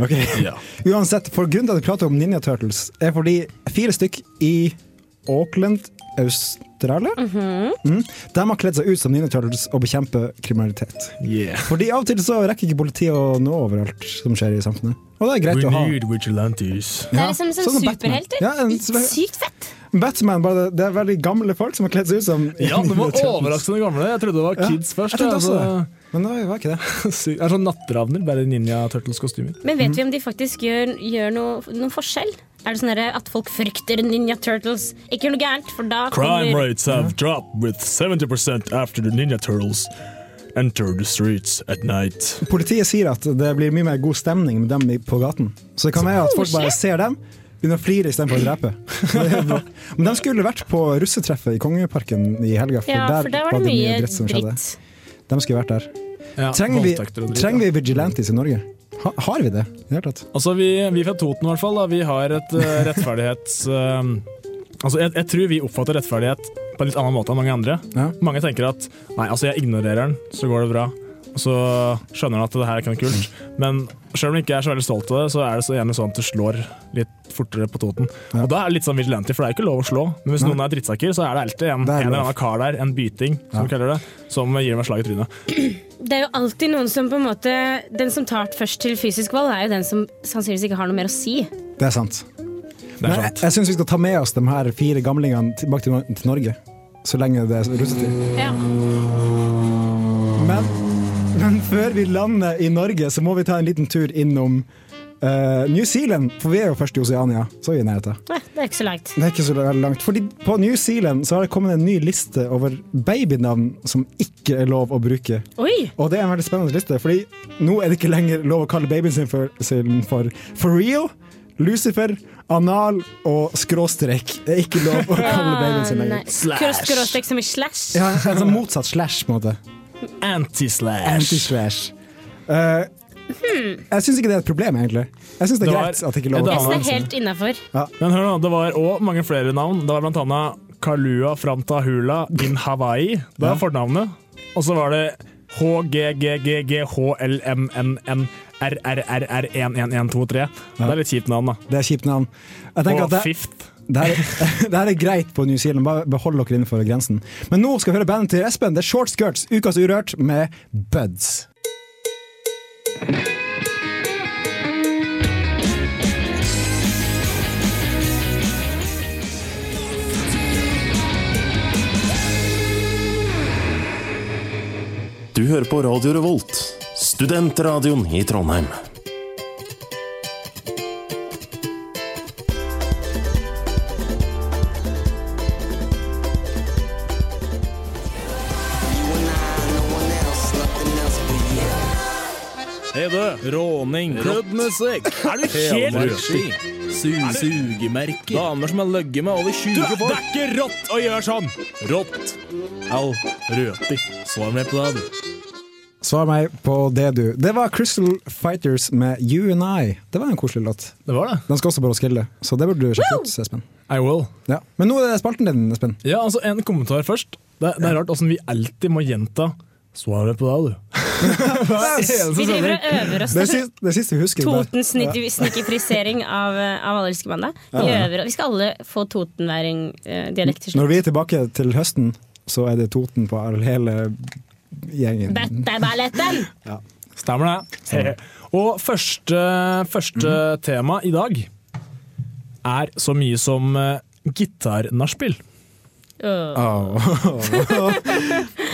[SPEAKER 3] Ok.
[SPEAKER 4] Ja.
[SPEAKER 3] Uansett, for grunnen til at vi prater om Ninja Turtles, er fordi fire stykk i Auckland, Australia,
[SPEAKER 5] Mhm.
[SPEAKER 3] Mm. de har kledd seg ut som Ninja Turtles og bekjemper kriminalitet.
[SPEAKER 4] Yeah.
[SPEAKER 3] Fordi av og til så rekker ikke politiet å nå overalt som skjer i samfunnet. Og det er greit
[SPEAKER 4] We
[SPEAKER 3] å ha.
[SPEAKER 4] need vigilantes.
[SPEAKER 5] Det
[SPEAKER 3] Ja,
[SPEAKER 5] er liksom
[SPEAKER 3] sånn
[SPEAKER 5] sånn
[SPEAKER 3] som Batman.
[SPEAKER 5] superhelter.
[SPEAKER 3] Ja, en-
[SPEAKER 5] Sykt fett!
[SPEAKER 3] Batman, bare det, det er veldig gamle folk som har kledd seg ut som
[SPEAKER 4] Ja, det
[SPEAKER 3] Ninja
[SPEAKER 4] var
[SPEAKER 3] Turtles.
[SPEAKER 4] overraskende gamle. Jeg trodde det var kids først.
[SPEAKER 3] Jeg trodde
[SPEAKER 4] altså.
[SPEAKER 3] også det, men det var ikke det.
[SPEAKER 4] Sykt. Det er sånn natteravner, bare ninja turtles-kostymer.
[SPEAKER 5] Men vet vi om de faktisk gjør, gjør noe, noen forskjell? Er det sånn derre at folk frykter Ninja Turtles? Ikke gjør noe gærent, for da
[SPEAKER 4] Crime
[SPEAKER 5] kommer
[SPEAKER 4] rates have dropped with 70% after the Ninja Turtles enter the streets at night.
[SPEAKER 3] Politiet sier at det blir mye mer god stemning med dem i- på gaten. Så det kan være at folk bare ser dem, begynner å flire istedenfor å drepe. Det er bra. Men de skulle vært på russetreffet i Kongeparken i helga, for,
[SPEAKER 5] Ja,
[SPEAKER 3] der,
[SPEAKER 5] for der var det mye dritt.
[SPEAKER 3] som skjedde. De skulle vært der.
[SPEAKER 4] Ja,
[SPEAKER 3] Trenger vi,
[SPEAKER 4] voldtekter og dritt,
[SPEAKER 3] trenger
[SPEAKER 4] ja.
[SPEAKER 3] vi vigilantes i Norge? Ha, har vi det? i det hele tatt?
[SPEAKER 4] Altså, vi, vi fra Toten i hvert fall, da, vi har et eh, rettferdighets... eh, altså, jeg, jeg tror vi oppfatter rettferdighet på en litt annen måte enn mange andre.
[SPEAKER 3] Ja.
[SPEAKER 4] Mange tenker at, nei, altså jeg ignorerer den, så går det bra. Og så skjønner han at det her er ikke noe kult.
[SPEAKER 3] Mm.
[SPEAKER 4] Men selv om jeg ikke er så veldig stolt av det, så er det så gjerne sånn at du slår litt fortere på Toten. Og da er det litt sånn vigilante, for det er ikke lov å slå. Men hvis noen er drittsekker, så er det alltid en,
[SPEAKER 3] Det er
[SPEAKER 4] en eller
[SPEAKER 3] lov.
[SPEAKER 4] annen kar der, en byting, som vi kaller det, som gir dem et slag i trynet.
[SPEAKER 5] Det er jo alltid noen som på en måte Den som tar først til fysisk vold, er jo den som sannsynligvis ikke har noe mer å si.
[SPEAKER 3] Det er sant.
[SPEAKER 4] Det
[SPEAKER 3] Men
[SPEAKER 4] er
[SPEAKER 3] jeg,
[SPEAKER 4] sant.
[SPEAKER 3] jeg syns vi skal ta med oss de her fire gamlingene tilbake til, Nor- til Norge, så lenge det er russetid.
[SPEAKER 6] Ja.
[SPEAKER 3] Men, men før vi lander i Norge, så må vi ta en liten tur innom eh, New Zealand. For vi er jo først i Oseania, så er vi i nærheten.
[SPEAKER 5] Nei, det er ikke så langt.
[SPEAKER 3] Det er ikke så veldig langt. Fordi på New Zealand så har det kommet en ny liste over babynavn som ikke er lov å bruke.
[SPEAKER 5] Oi!
[SPEAKER 3] Og det er en veldig spennende liste, fordi nå er det ikke lenger lov å kalle babyen sin for, sin for For real, Lucifer, anal og skråstrek. Det er ikke lov å kalle babyen sin lenger.
[SPEAKER 5] Slash. Skråstrek som i slash.
[SPEAKER 3] Ja, en sånn motsatt slash, på en måte.
[SPEAKER 4] Anti-slash.
[SPEAKER 3] Anti-slash. Eh, Jeg syns ikke det er et problem, egentlig. Jeg syns det er
[SPEAKER 4] Det var-
[SPEAKER 3] greit at det ikke er lov å
[SPEAKER 4] det
[SPEAKER 5] Jeg
[SPEAKER 4] var-
[SPEAKER 5] synes
[SPEAKER 3] kalle
[SPEAKER 5] det er helt innafor.
[SPEAKER 4] Men hør nå, det var òg mange flere navn. Det var blant annet Kalua Framtahula in Hawaii. Det var fornavnet. Og så var det HGGGGHLMNNRRRR11123. Det er litt kjipt navn, da.
[SPEAKER 3] Det er kjipt navn. Jeg tenker
[SPEAKER 4] Og
[SPEAKER 3] at det,
[SPEAKER 4] Fifth.
[SPEAKER 3] det, her, det her er greit på New Zealand, bare behold dere innenfor grensen. Men nå skal vi høre bandet til Espen. Det er Short Skirts, Ukas Urørt, med Buds.
[SPEAKER 8] Du hører på Radio Revolt, studentradioen i Trondheim.
[SPEAKER 4] Hei, du. Råning.
[SPEAKER 1] Rødmusikk,
[SPEAKER 4] Er du helt
[SPEAKER 1] sugemerker, damer som har løgget med over
[SPEAKER 4] Du,
[SPEAKER 1] 20
[SPEAKER 4] det er ikke rått å gjøre sånn! Rått. Au. Røti. Svar meg på det.
[SPEAKER 3] Svar meg på det, du. Det var Crystal Fighters med You and I. Det var en koselig låt.
[SPEAKER 4] Det var det.
[SPEAKER 3] Den skal også på Roskilde, så det burde du sjekke ut, Espen.
[SPEAKER 4] I will.
[SPEAKER 3] Ja. Men nå er det spalten din, Espen.
[SPEAKER 4] Ja, altså En kommentar først. Det, det er rart åssen vi alltid må gjenta svaret på deg, du.
[SPEAKER 5] Vi driver og øver oss.
[SPEAKER 3] Det er sist- det er siste vi husker. det der.
[SPEAKER 5] Totens snitti- snikifrisering av, eh, av Allergiske mandag. Vi, øver, oss. vi skal alle få eh, totenværing-dialekt
[SPEAKER 3] Når
[SPEAKER 5] til slutt.
[SPEAKER 3] vi er tilbake til høsten, så er det Toten på all- hele gjengen.
[SPEAKER 5] Dette er balletten!
[SPEAKER 4] Stemmer Mhm. det. Og første, første tema eh, i dag er så mye som uh, gitarnachspiel.
[SPEAKER 5] Åh.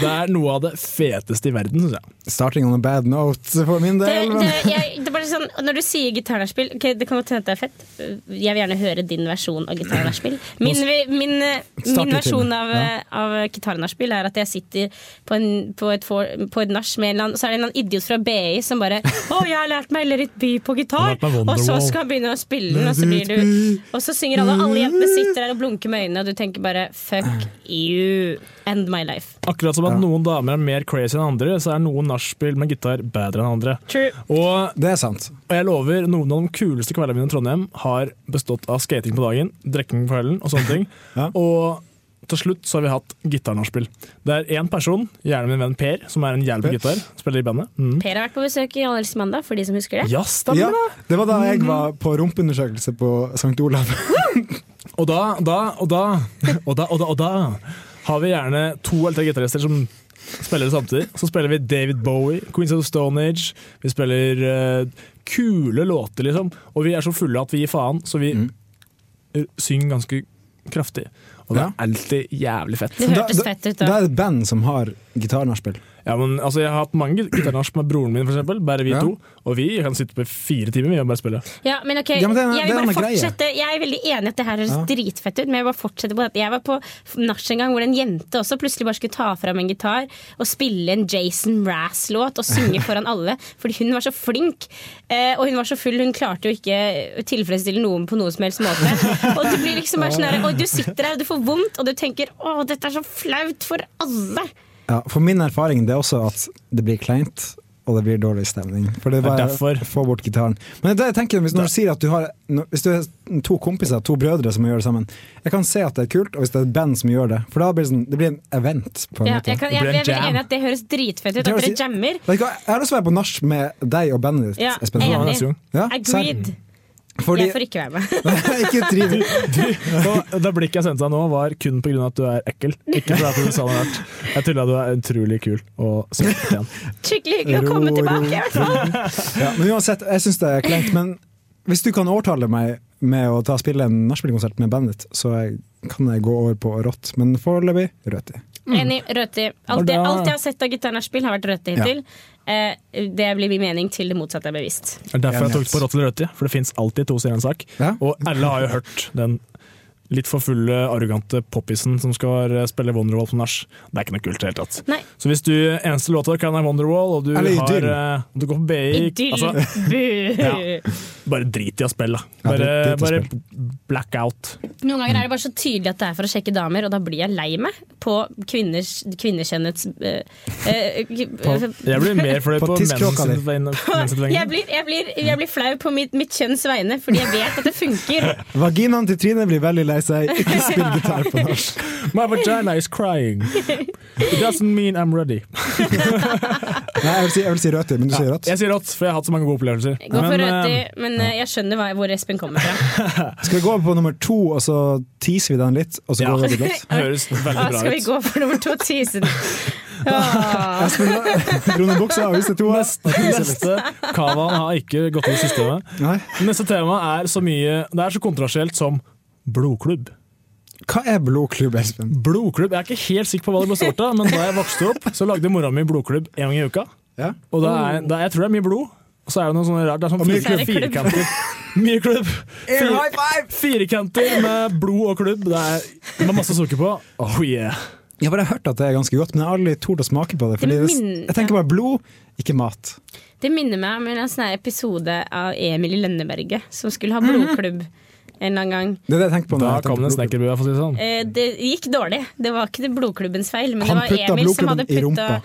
[SPEAKER 4] Det er noe av det feteste i verden, syns jeg.
[SPEAKER 3] Starting on a bad note for min
[SPEAKER 5] Det,
[SPEAKER 3] del.
[SPEAKER 5] det,
[SPEAKER 3] Men.
[SPEAKER 5] jeg, det er bare sånn, når du sier gitarnærspill ok, Det kan godt hende at det er fett. Jeg vil gjerne høre din versjon av gitarnærspill. Min, vi- min, eh,
[SPEAKER 3] Start
[SPEAKER 5] min
[SPEAKER 3] litt
[SPEAKER 5] versjon
[SPEAKER 3] tidlig,
[SPEAKER 5] av,
[SPEAKER 3] ja.
[SPEAKER 5] eh, av gitarnærspill er at jeg sitter på, en, på et, for, på et nach med en eller annen, så er det en eller annen idiot fra BI som bare 'Å, jeg har lært meg Let It Be på gitar!'
[SPEAKER 4] Jeg har lært meg
[SPEAKER 5] Og så
[SPEAKER 4] Wonderwall.
[SPEAKER 5] skal han begynne å spille den, og så blir du Og så synger alle, og alle jentene sitter der og blunker med øynene, og du tenker bare 'fuck you and my life'.
[SPEAKER 4] Akkurat som at noen damer er mer crazy enn andre, så er noen nachspiel med gitar bedre enn andre.
[SPEAKER 5] True.
[SPEAKER 4] Og,
[SPEAKER 3] Det er sant.
[SPEAKER 4] og jeg lover, noen av de kuleste kveldene mine i Trondheim har bestått av skating på dagen, drikking på kvelden og sånne ting.
[SPEAKER 3] Ja.
[SPEAKER 4] Og til slutt så har vi hatt gitarnachspiel. Det er én person, gjerne min venn Per, som er en jævel på gitar, spiller i bandet. Mm.
[SPEAKER 5] Per har vært på besøk i Allhelst mandag, for de som husker det. Mhm.
[SPEAKER 4] Ja, stemmer
[SPEAKER 3] Ja,
[SPEAKER 4] det!
[SPEAKER 3] det var da jeg var på rumpeundersøkelse på St. Olav.
[SPEAKER 4] Og da, da, og da, og da, og da, og da har vi gjerne to eller tre gitarister som spiller samtidig. Så spiller vi David Bowie, Queens of the Stone Age. Vi spiller eh, kule låter, liksom. Og vi er så fulle at vi gir faen, så vi
[SPEAKER 3] Mm.
[SPEAKER 4] eh, synger ganske kraftig. Og det
[SPEAKER 3] Ja.
[SPEAKER 4] er alltid jævlig fett.
[SPEAKER 5] Det
[SPEAKER 3] Da,
[SPEAKER 5] hørtes
[SPEAKER 3] da,
[SPEAKER 5] fett ut.
[SPEAKER 3] da
[SPEAKER 5] da
[SPEAKER 3] er det band som har gitarnachspiel.
[SPEAKER 4] Ja, men altså, Jeg har hatt mange gitarnach med broren min, for eksempel, bare vi
[SPEAKER 3] Ja.
[SPEAKER 4] to. Og vi kan sitte på fire timer vi og bare spille.
[SPEAKER 5] Ja, men ok,
[SPEAKER 3] Ja, men det er-
[SPEAKER 5] jeg
[SPEAKER 3] det
[SPEAKER 5] vil
[SPEAKER 3] er
[SPEAKER 5] bare
[SPEAKER 3] noe greie.
[SPEAKER 5] fortsette Jeg er veldig enig i at det her høres
[SPEAKER 3] Ja.
[SPEAKER 5] dritfett ut, men jeg vil bare fortsette på at jeg var på nach en gang hvor en jente også plutselig bare skulle ta fram en gitar og spille en Jason Mraz-låt og synge foran alle, fordi hun var så flink. Eh, og hun var så full, hun klarte jo ikke å tilfredsstille noen på noen som helst måte. Og du blir liksom bare sånn her, og du sitter der og du får vondt, og du tenker å, dette er så flaut for alle.
[SPEAKER 3] Ja, for min erfaring det er også at det blir kleint, og det blir dårlig stemning. For det er
[SPEAKER 4] Det er
[SPEAKER 3] bare
[SPEAKER 4] derfor.
[SPEAKER 3] å få bort gitaren. Men det er det jeg tenker, hvis, når du sier at du har, når- hvis du er to kompiser, to brødre som gjør det sammen, jeg kan se at det er kult, og hvis det er et band som gjør det, for da blir det, sånn, det blir en event, på en
[SPEAKER 5] Ja,
[SPEAKER 3] måte.
[SPEAKER 5] jeg, kan, jeg,
[SPEAKER 4] Det
[SPEAKER 5] jeg
[SPEAKER 4] blir en
[SPEAKER 5] er veldig
[SPEAKER 4] jam.
[SPEAKER 5] enig i at det høres dritfett ut, at dere jammer.
[SPEAKER 3] Vet du hva, Jeg har lyst til å være på nach med deg og bandet ditt,
[SPEAKER 5] Ja,
[SPEAKER 3] Espen.
[SPEAKER 4] Ja,
[SPEAKER 5] enig.
[SPEAKER 4] neste gang.
[SPEAKER 3] Ja,
[SPEAKER 5] Agreed.
[SPEAKER 3] serr. Fordi,
[SPEAKER 5] Jeg får ikke være med.
[SPEAKER 3] ikke triv.
[SPEAKER 4] Og det blikket jeg sendte deg nå, var kun pga. at du er ekkel. Ikke fordi at du sa noe rart. Jeg tulla, du er utrolig kul og søt. igjen.
[SPEAKER 5] Skikkelig hyggelig å
[SPEAKER 3] Ro,
[SPEAKER 5] komme
[SPEAKER 3] ro.
[SPEAKER 5] tilbake, i hvert fall.
[SPEAKER 3] Ja, men uansett, jeg syns det er kleint. Men hvis du kan overtale meg med å ta spille en nachspielkonsert med bandet ditt, så jeg, kan jeg gå over på rått. Men foreløpig røti.
[SPEAKER 5] Mm. Enig. Rødti. Alt,
[SPEAKER 4] Og
[SPEAKER 5] det-
[SPEAKER 4] da-
[SPEAKER 5] alt jeg har sett av gitarnærspill, har vært rødti hittil. Eh, det blir min mening til det motsatte er bevisst.
[SPEAKER 4] Det er Derfor jeg tok det på rått eller rødt, for det fins alltid to sider av en sak.
[SPEAKER 3] Ja.
[SPEAKER 4] Og alle har jo hørt den litt for fulle, arrogante poppisen som skal eh, spille Wonderwall på nach. Det er ikke noe kult i det hele tatt.
[SPEAKER 5] Nei.
[SPEAKER 4] Så hvis du eneste låta kan er Wonderwall, og du,
[SPEAKER 3] Eller
[SPEAKER 4] har,
[SPEAKER 3] Idyll.
[SPEAKER 4] eh, du går på BI
[SPEAKER 5] Idyll!
[SPEAKER 4] altså,
[SPEAKER 5] Bu!
[SPEAKER 4] Ja. Bare drit i å spille, da.
[SPEAKER 3] Ja,
[SPEAKER 4] Bare,
[SPEAKER 3] drit- drit i
[SPEAKER 4] bare
[SPEAKER 3] å
[SPEAKER 4] black out.
[SPEAKER 5] Noen ganger er det bare så tydelig at det er for å sjekke damer, og da blir jeg lei meg på kvinners, kvinnekjønnets eh, eh,
[SPEAKER 4] Jeg blir mer fornøyd
[SPEAKER 3] På
[SPEAKER 4] på,
[SPEAKER 3] tisskråka di.
[SPEAKER 4] menns menns-
[SPEAKER 5] jeg blir, jeg, blir, jeg blir flau på mitt, mitt kjønns vegne, fordi jeg vet at det funker.
[SPEAKER 3] Vaginaen til Trine blir veldig lei seg. Ikke spill gitar på nach.
[SPEAKER 4] My vagina is crying. It doesn't mean I'm ready.
[SPEAKER 3] Nei, jeg vil si, jeg vil si røti, men du sier rått.
[SPEAKER 4] Jeg sier rått, for jeg har hatt så mange gode opplevelser.
[SPEAKER 5] Gå for
[SPEAKER 4] Men, eh,
[SPEAKER 5] rødti, men eh, jeg skjønner hva, hvor Espen kommer fra.
[SPEAKER 3] Skal vi gå over på nummer to, og så teaser vi den litt, og så
[SPEAKER 4] Ja.
[SPEAKER 3] går vi over til godt?
[SPEAKER 4] høres veldig
[SPEAKER 5] Ah,
[SPEAKER 4] bra
[SPEAKER 5] skal vi
[SPEAKER 4] ut.
[SPEAKER 5] gå for nummer to tisen? Ah. Åh.
[SPEAKER 3] Espen dro ned buksa og viste to.
[SPEAKER 4] Neste Kavaen har ikke gått ut i systemet.
[SPEAKER 3] Nei.
[SPEAKER 4] Neste tema er så mye Det er så kontroversielt som blodklubb.
[SPEAKER 3] Hva er blodklubb, Espen?
[SPEAKER 4] Blodklubb, Jeg er ikke helt sikker på hva det ble starta, men da jeg vokste opp, så lagde mora mi blodklubb en gang i uka.
[SPEAKER 3] Ja.
[SPEAKER 4] Og det er, det er, jeg tror det er mye blod. Og så er det noe sånne rart. Det er sånn
[SPEAKER 3] Og mye
[SPEAKER 4] fire,
[SPEAKER 5] klubb.
[SPEAKER 4] firkanter. Mye klubb. Fire- Firkanter med blod og klubb. Det er, med masse sukker på. Oh yeah.
[SPEAKER 3] Jeg har bare hørt at det er ganske godt, men jeg har aldri tort å smake på det. Fordi
[SPEAKER 5] Det
[SPEAKER 3] det,
[SPEAKER 5] minner-
[SPEAKER 3] jeg tenker bare blod, ikke mat.
[SPEAKER 5] Det minner meg om en sånn her episode av Emil i Lønneberget som skulle
[SPEAKER 3] Mhm.
[SPEAKER 5] ha blodklubb en eller annen gang.
[SPEAKER 3] Det er det jeg tenker på. når
[SPEAKER 4] Da
[SPEAKER 3] jeg tenker
[SPEAKER 4] kom det en
[SPEAKER 3] blodklubb.
[SPEAKER 4] snekkerbue, for å si det sånn.
[SPEAKER 5] Eh, Det gikk dårlig. Det var ikke det blodklubbens feil, men
[SPEAKER 3] Han
[SPEAKER 5] det
[SPEAKER 3] putta
[SPEAKER 5] var Emil som
[SPEAKER 3] blodklubben
[SPEAKER 5] hadde
[SPEAKER 3] i
[SPEAKER 5] putta
[SPEAKER 3] rumpa.
[SPEAKER 5] Ja,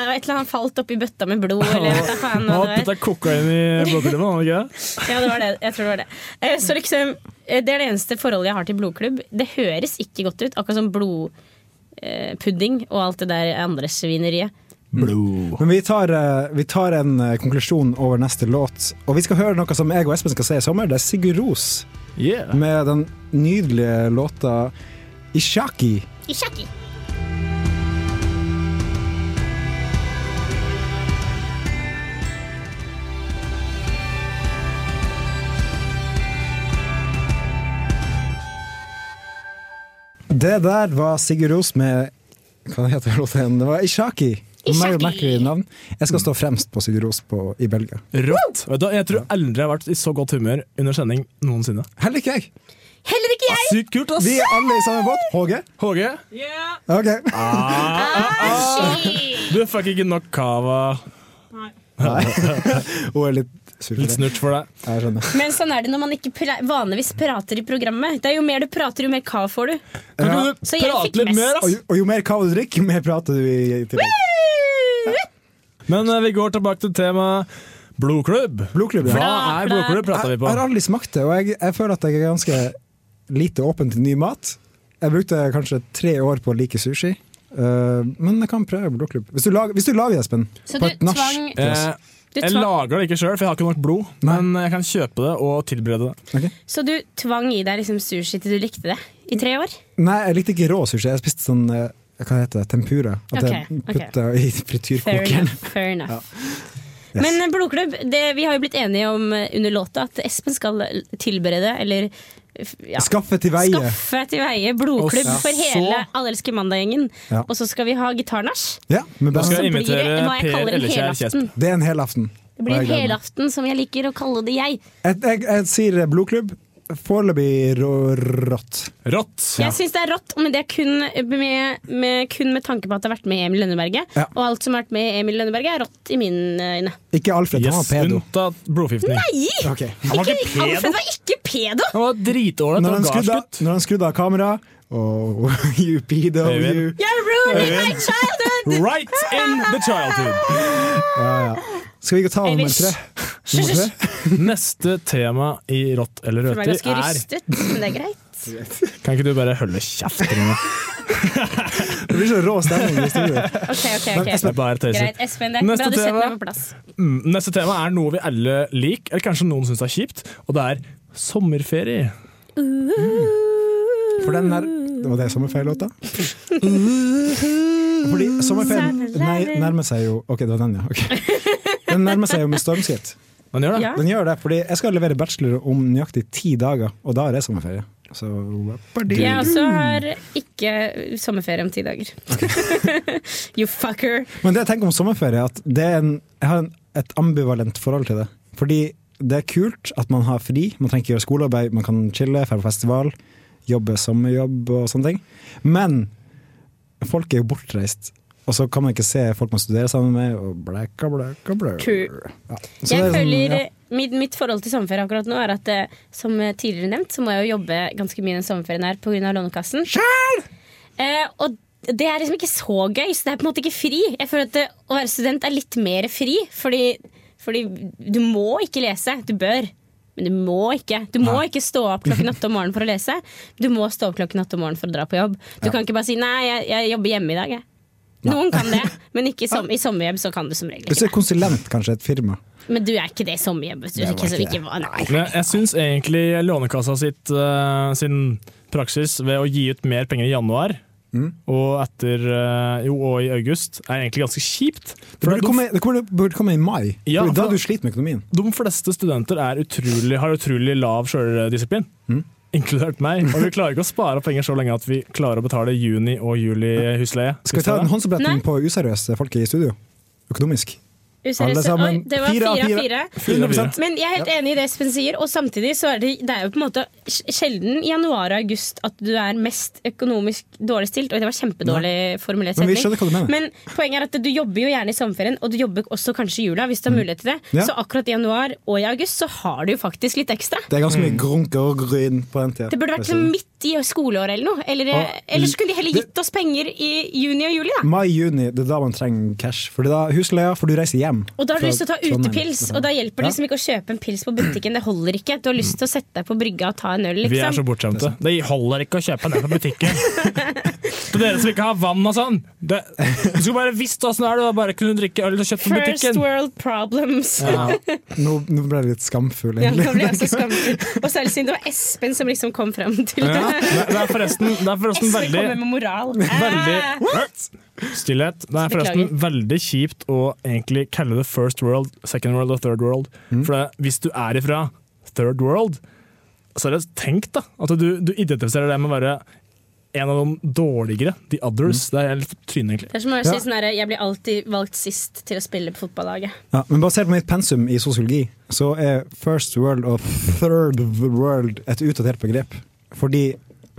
[SPEAKER 5] det var et eller annet han falt oppi bøtta med blod, eller vet da faen
[SPEAKER 4] Han
[SPEAKER 5] hva
[SPEAKER 4] har
[SPEAKER 5] det var.
[SPEAKER 4] putta kokain i blodklubben, har han ikke det?
[SPEAKER 5] Ja, det var det. Jeg tror det var det. Eh, Så liksom, eh, det er det eneste forholdet jeg har til blodklubb. Det høres ikke godt ut, akkurat som blodpudding og alt det der andre svineriet.
[SPEAKER 3] Men vi tar, eh, vi tar en eh, konklusjon over neste låt. Og vi skal høre noe som jeg og Espen skal se i sommer. Det er Sigurd Ros
[SPEAKER 4] Yeah.
[SPEAKER 3] med den nydelige låta Ishaki.
[SPEAKER 5] Ishaki.
[SPEAKER 3] Det der var Sigurd Ros med Hva heter låten? igjen? Det var Ishaki. Mer
[SPEAKER 5] Ishaki.
[SPEAKER 3] merkelig navn. Jeg skal stå fremst på Sigurd Ros på, i Belgia.
[SPEAKER 4] Rått! Vet du, hva, jeg tror aldri jeg har vært i så godt humør under sending noensinne.
[SPEAKER 3] Heller ikke jeg!
[SPEAKER 5] Heller ikke jeg!
[SPEAKER 4] Sykt kult, ass!
[SPEAKER 3] Vi er alle i samme båt. HG?
[SPEAKER 4] HG,
[SPEAKER 3] Ok.
[SPEAKER 4] du fikk ikke nok cava.
[SPEAKER 3] Hun er litt sur. for
[SPEAKER 4] Litt
[SPEAKER 3] det.
[SPEAKER 4] snurt for deg.
[SPEAKER 3] Jeg skjønner.
[SPEAKER 5] Men sånn er det når man ikke pra- vanligvis prater i programmet. Det er Jo mer du prater, jo mer kav får du.
[SPEAKER 4] Kan
[SPEAKER 3] Ja.
[SPEAKER 4] ikke du
[SPEAKER 5] Så jeg fikk
[SPEAKER 4] prate litt
[SPEAKER 5] mest.
[SPEAKER 4] mer,
[SPEAKER 3] Og
[SPEAKER 4] ass?
[SPEAKER 3] jo, og jo mer kava du drikker, jo mer prater du i i tillegg.
[SPEAKER 4] Men eh, vi går tilbake til temaet blodklubb.
[SPEAKER 3] Blodklubb, ja.
[SPEAKER 4] Hva er blodklubb, prater
[SPEAKER 3] Jeg,
[SPEAKER 4] vi
[SPEAKER 3] jeg har
[SPEAKER 4] på.
[SPEAKER 3] aldri smakt det, og jeg, jeg føler at jeg er ganske lite åpen til ny mat. Jeg brukte kanskje tre år på å like sushi, eh, men jeg kan prøve blodklubb. Hvis du lager, hvis du lager det, Espen,
[SPEAKER 5] Så
[SPEAKER 3] på
[SPEAKER 5] du
[SPEAKER 3] et nach
[SPEAKER 5] tvang-
[SPEAKER 4] Eh,
[SPEAKER 5] Du
[SPEAKER 4] jeg
[SPEAKER 5] tvang,
[SPEAKER 4] lager det ikke sjøl, for jeg har ikke nok blod.
[SPEAKER 3] Nei.
[SPEAKER 4] Men jeg kan kjøpe det og tilberede det.
[SPEAKER 5] så du tvang i deg liksom sushi til du likte det i tre år?
[SPEAKER 3] Nei, jeg likte ikke rå sushi. Jeg spiste sånn eh, hva heter det, tempura. At jeg
[SPEAKER 5] Ok, ok.
[SPEAKER 3] putta i
[SPEAKER 5] Fair
[SPEAKER 3] frityrkokeren.
[SPEAKER 5] enough. Fair enough. Men eh, blodklubb, det, vi har jo blitt enige om eh, under låta at Espen skal eh, tilberede eller f- ja,
[SPEAKER 3] Skaffe til veie.
[SPEAKER 5] skaffe til veie blodklubb
[SPEAKER 4] Og så-
[SPEAKER 5] for hele Allelske mandag-gjengen.
[SPEAKER 3] Ja.
[SPEAKER 5] Og så skal vi ha gitarnasj.
[SPEAKER 3] Ja, men
[SPEAKER 4] Da
[SPEAKER 3] best.
[SPEAKER 4] skal jeg
[SPEAKER 5] blir det
[SPEAKER 4] invitere
[SPEAKER 5] hva jeg
[SPEAKER 4] Per
[SPEAKER 5] kaller en
[SPEAKER 4] Ellekjær Kjesp.
[SPEAKER 5] helaften.
[SPEAKER 3] Det er en helaften.
[SPEAKER 5] Det
[SPEAKER 3] Og
[SPEAKER 5] blir
[SPEAKER 3] jeg
[SPEAKER 5] en
[SPEAKER 3] gleder meg.
[SPEAKER 5] helaften, som jeg liker å kalle det jeg.
[SPEAKER 3] Jeg, jeg, jeg sier blodklubb. Foreløpig rå, rått.
[SPEAKER 4] Rått!
[SPEAKER 5] Jeg syns det er rått, men det er kun med, med, kun med tanke på at det har vært med i Emil Lønneberget.
[SPEAKER 3] Ja.
[SPEAKER 5] Og alt som har vært med i Emil Lønneberget, er rått i mine øyne.
[SPEAKER 3] Ikke Alfred, han
[SPEAKER 4] Yes,
[SPEAKER 3] var pedo.
[SPEAKER 4] unntatt blodforgiftning.
[SPEAKER 5] Nei!
[SPEAKER 3] Ok.
[SPEAKER 4] Han var
[SPEAKER 5] Ikke,
[SPEAKER 4] ikke pedo!
[SPEAKER 5] Alfred var ikke pedo!
[SPEAKER 4] Han var dritålreit
[SPEAKER 3] Når han
[SPEAKER 4] og
[SPEAKER 3] skrudde,
[SPEAKER 4] gardsgutt.
[SPEAKER 3] når han skrudde av kameraet oh, You PW.
[SPEAKER 4] Øyvind.
[SPEAKER 5] You're ruining my childhood!
[SPEAKER 4] Right in the childhood.
[SPEAKER 3] Skal vi ikke ta nummer
[SPEAKER 5] Ellers-
[SPEAKER 3] tre?
[SPEAKER 5] Hysj, hysj.
[SPEAKER 4] Neste tema i Rått eller
[SPEAKER 5] Du er
[SPEAKER 4] røtter
[SPEAKER 5] ganske
[SPEAKER 4] er
[SPEAKER 5] rystet, men det er greit.
[SPEAKER 4] Kan ikke du bare holde kjeft? Rune?
[SPEAKER 3] Det blir så rå stemning i studioet.
[SPEAKER 5] Ok, ok, ok.
[SPEAKER 4] Jeg bare tøyser.
[SPEAKER 5] Greit, Espen. Det er
[SPEAKER 4] Neste
[SPEAKER 5] bra du setter
[SPEAKER 4] tema.
[SPEAKER 5] meg på plass.
[SPEAKER 4] Mm, Neste tema er noe vi alle liker, eller kanskje noen syns er kjipt, og det er sommerferie.
[SPEAKER 3] For den der Det var det sommerferielåta? Fordi sommerferien nei- nærmer seg jo Ok, det var den, ja. ok. Den nærmer seg jo med stormskritt.
[SPEAKER 4] Man gjør det.
[SPEAKER 5] Ja.
[SPEAKER 3] Den gjør det, fordi jeg skal levere bachelor om nøyaktig ti dager, og da er det sommerferie. Så
[SPEAKER 5] Jeg også har ikke sommerferie om ti dager. you fucker.
[SPEAKER 3] Men det jeg tenker om sommerferie, er at det er en, jeg har en, et ambivalent forhold til det. Fordi det er kult at man har fri, man trenger ikke gjøre skolearbeid, man kan chille, dra på festival, jobbe sommerjobb og sånne ting. Men folk er jo bortreist, og så kan man ikke se folk man studerer sammen med, og blæka, blæka, blæka.
[SPEAKER 5] True.
[SPEAKER 3] Ja. Så
[SPEAKER 5] Jeg
[SPEAKER 3] det er sånn,
[SPEAKER 5] føler
[SPEAKER 3] ja.
[SPEAKER 5] mitt, mitt forhold til sommerferie akkurat nå er at eh, som tidligere nevnt, så må jeg jo jobbe ganske mye den sommerferien her pga. Lånekassen. Eh, og det er liksom ikke så gøy, så det er på en måte ikke fri. Jeg føler at det, å være student er litt mer fri, fordi, fordi du må ikke lese. Du bør. Men du må ikke. Du må ikke stå opp klokken åtte om morgenen for å lese. Du må stå opp klokken åtte om morgenen for å dra på jobb. Du kan ikke bare si 'nei, jeg, jeg jobber hjemme i dag', jeg. Noen kan det, men ikke i, som, i sommerjobb så kan du som regel ikke.
[SPEAKER 3] Hvis du er konsulent, kanskje, et firma.
[SPEAKER 5] Men du er ikke det i sommerjobb. vet Du,
[SPEAKER 3] var
[SPEAKER 5] ikke, så
[SPEAKER 3] ikke
[SPEAKER 5] ikke, var- nei.
[SPEAKER 4] Men jeg syns egentlig Lånekassa sitt, eh, sin praksis ved å gi ut mer penger i januar
[SPEAKER 3] Mm.
[SPEAKER 4] og, etter, eh, jo, og i august er egentlig ganske kjipt.
[SPEAKER 3] Det
[SPEAKER 4] For
[SPEAKER 3] burde komme, det kommer- burde komme i mai,
[SPEAKER 4] Ja,
[SPEAKER 3] for da
[SPEAKER 4] for-
[SPEAKER 3] du sliter med økonomien.
[SPEAKER 4] de fleste studenter er utrolig, har utrolig lav sjøldisiplin.
[SPEAKER 3] Mm.
[SPEAKER 4] Inkludert meg. Og vi klarer ikke å spare penger så lenge at vi klarer å betale juni- og juli-husleie.
[SPEAKER 3] Skal vi ta en
[SPEAKER 5] Nei.
[SPEAKER 3] håndsoppretning på useriøse folk i studio? Økonomisk. Alle
[SPEAKER 5] Useriøse.
[SPEAKER 3] sammen.
[SPEAKER 5] Oi, det var
[SPEAKER 3] Fire
[SPEAKER 5] fire
[SPEAKER 3] av
[SPEAKER 5] av
[SPEAKER 3] fire.
[SPEAKER 5] fire.
[SPEAKER 3] 100
[SPEAKER 5] Men jeg er helt enig i det Espen sier, og samtidig så er det, det er jo på en måte sj- sjelden i januar og august at du er mest økonomisk dårlig stilt. Oi, det var kjempedårlig formulert
[SPEAKER 3] Men vi skjønner
[SPEAKER 5] setning.
[SPEAKER 3] hva du mener.
[SPEAKER 5] Men poenget er at du jobber jo gjerne i sommerferien, og du jobber også kanskje i jula hvis du har mulighet til det.
[SPEAKER 3] Mm. Ja.
[SPEAKER 5] Så akkurat i januar og i august så har du jo faktisk litt ekstra.
[SPEAKER 3] Det er ganske mye grunk og gryn på den tida.
[SPEAKER 5] Det burde vært sånn midt i skoleåret eller noe. Eller,
[SPEAKER 3] Og-
[SPEAKER 5] eller så kunne de heller gitt oss penger i juni og juli, da.
[SPEAKER 3] Mai-juni, det er da man trenger cash. For det er da husleia, for du reiser hjem.
[SPEAKER 5] Og da har du
[SPEAKER 3] fra
[SPEAKER 5] lyst til
[SPEAKER 4] sånn
[SPEAKER 5] å ta
[SPEAKER 3] Trondheim.
[SPEAKER 5] utepils, og da hjelper det liksom ikke å kjøpe en pils på butikken. Det holder ikke. Du har lyst til å sette deg på brygga og ta en øl,
[SPEAKER 4] Vi er
[SPEAKER 5] liksom.
[SPEAKER 4] så bortskjemte. Det holder ikke å kjøpe den på butikken. Til dere som ikke har vann og sånn. Det, du skulle bare visst åssen det er, du har bare kunne drikke øl og kjøtt på
[SPEAKER 5] First
[SPEAKER 4] butikken.
[SPEAKER 5] world problems.
[SPEAKER 3] Nå, nå ble jeg litt skamfull,
[SPEAKER 5] Ja,
[SPEAKER 3] egentlig.
[SPEAKER 5] nå ble jeg så skamfull. Og særlig siden det var Espen som liksom kom fram til det.
[SPEAKER 4] Ja. Det det er forresten, det er forresten
[SPEAKER 5] Espen
[SPEAKER 4] veldig
[SPEAKER 5] kommer med moral.
[SPEAKER 4] Veldig Stillhet. Det er forresten
[SPEAKER 5] Beklager.
[SPEAKER 4] veldig kjipt å egentlig kalle det first world, second world og third world. For det, hvis du er ifra third world, så er det tenkt da, at du, du identifiserer deg med å være en av de dårligere, The Others. Det er litt trynet, egentlig.
[SPEAKER 5] Det er som å si sånn her, Jeg blir alltid valgt sist til å spille på fotballaget.
[SPEAKER 3] Ja, men basert på mitt pensum i sosiologi, så er first world og third world et utdatert begrep. Fordi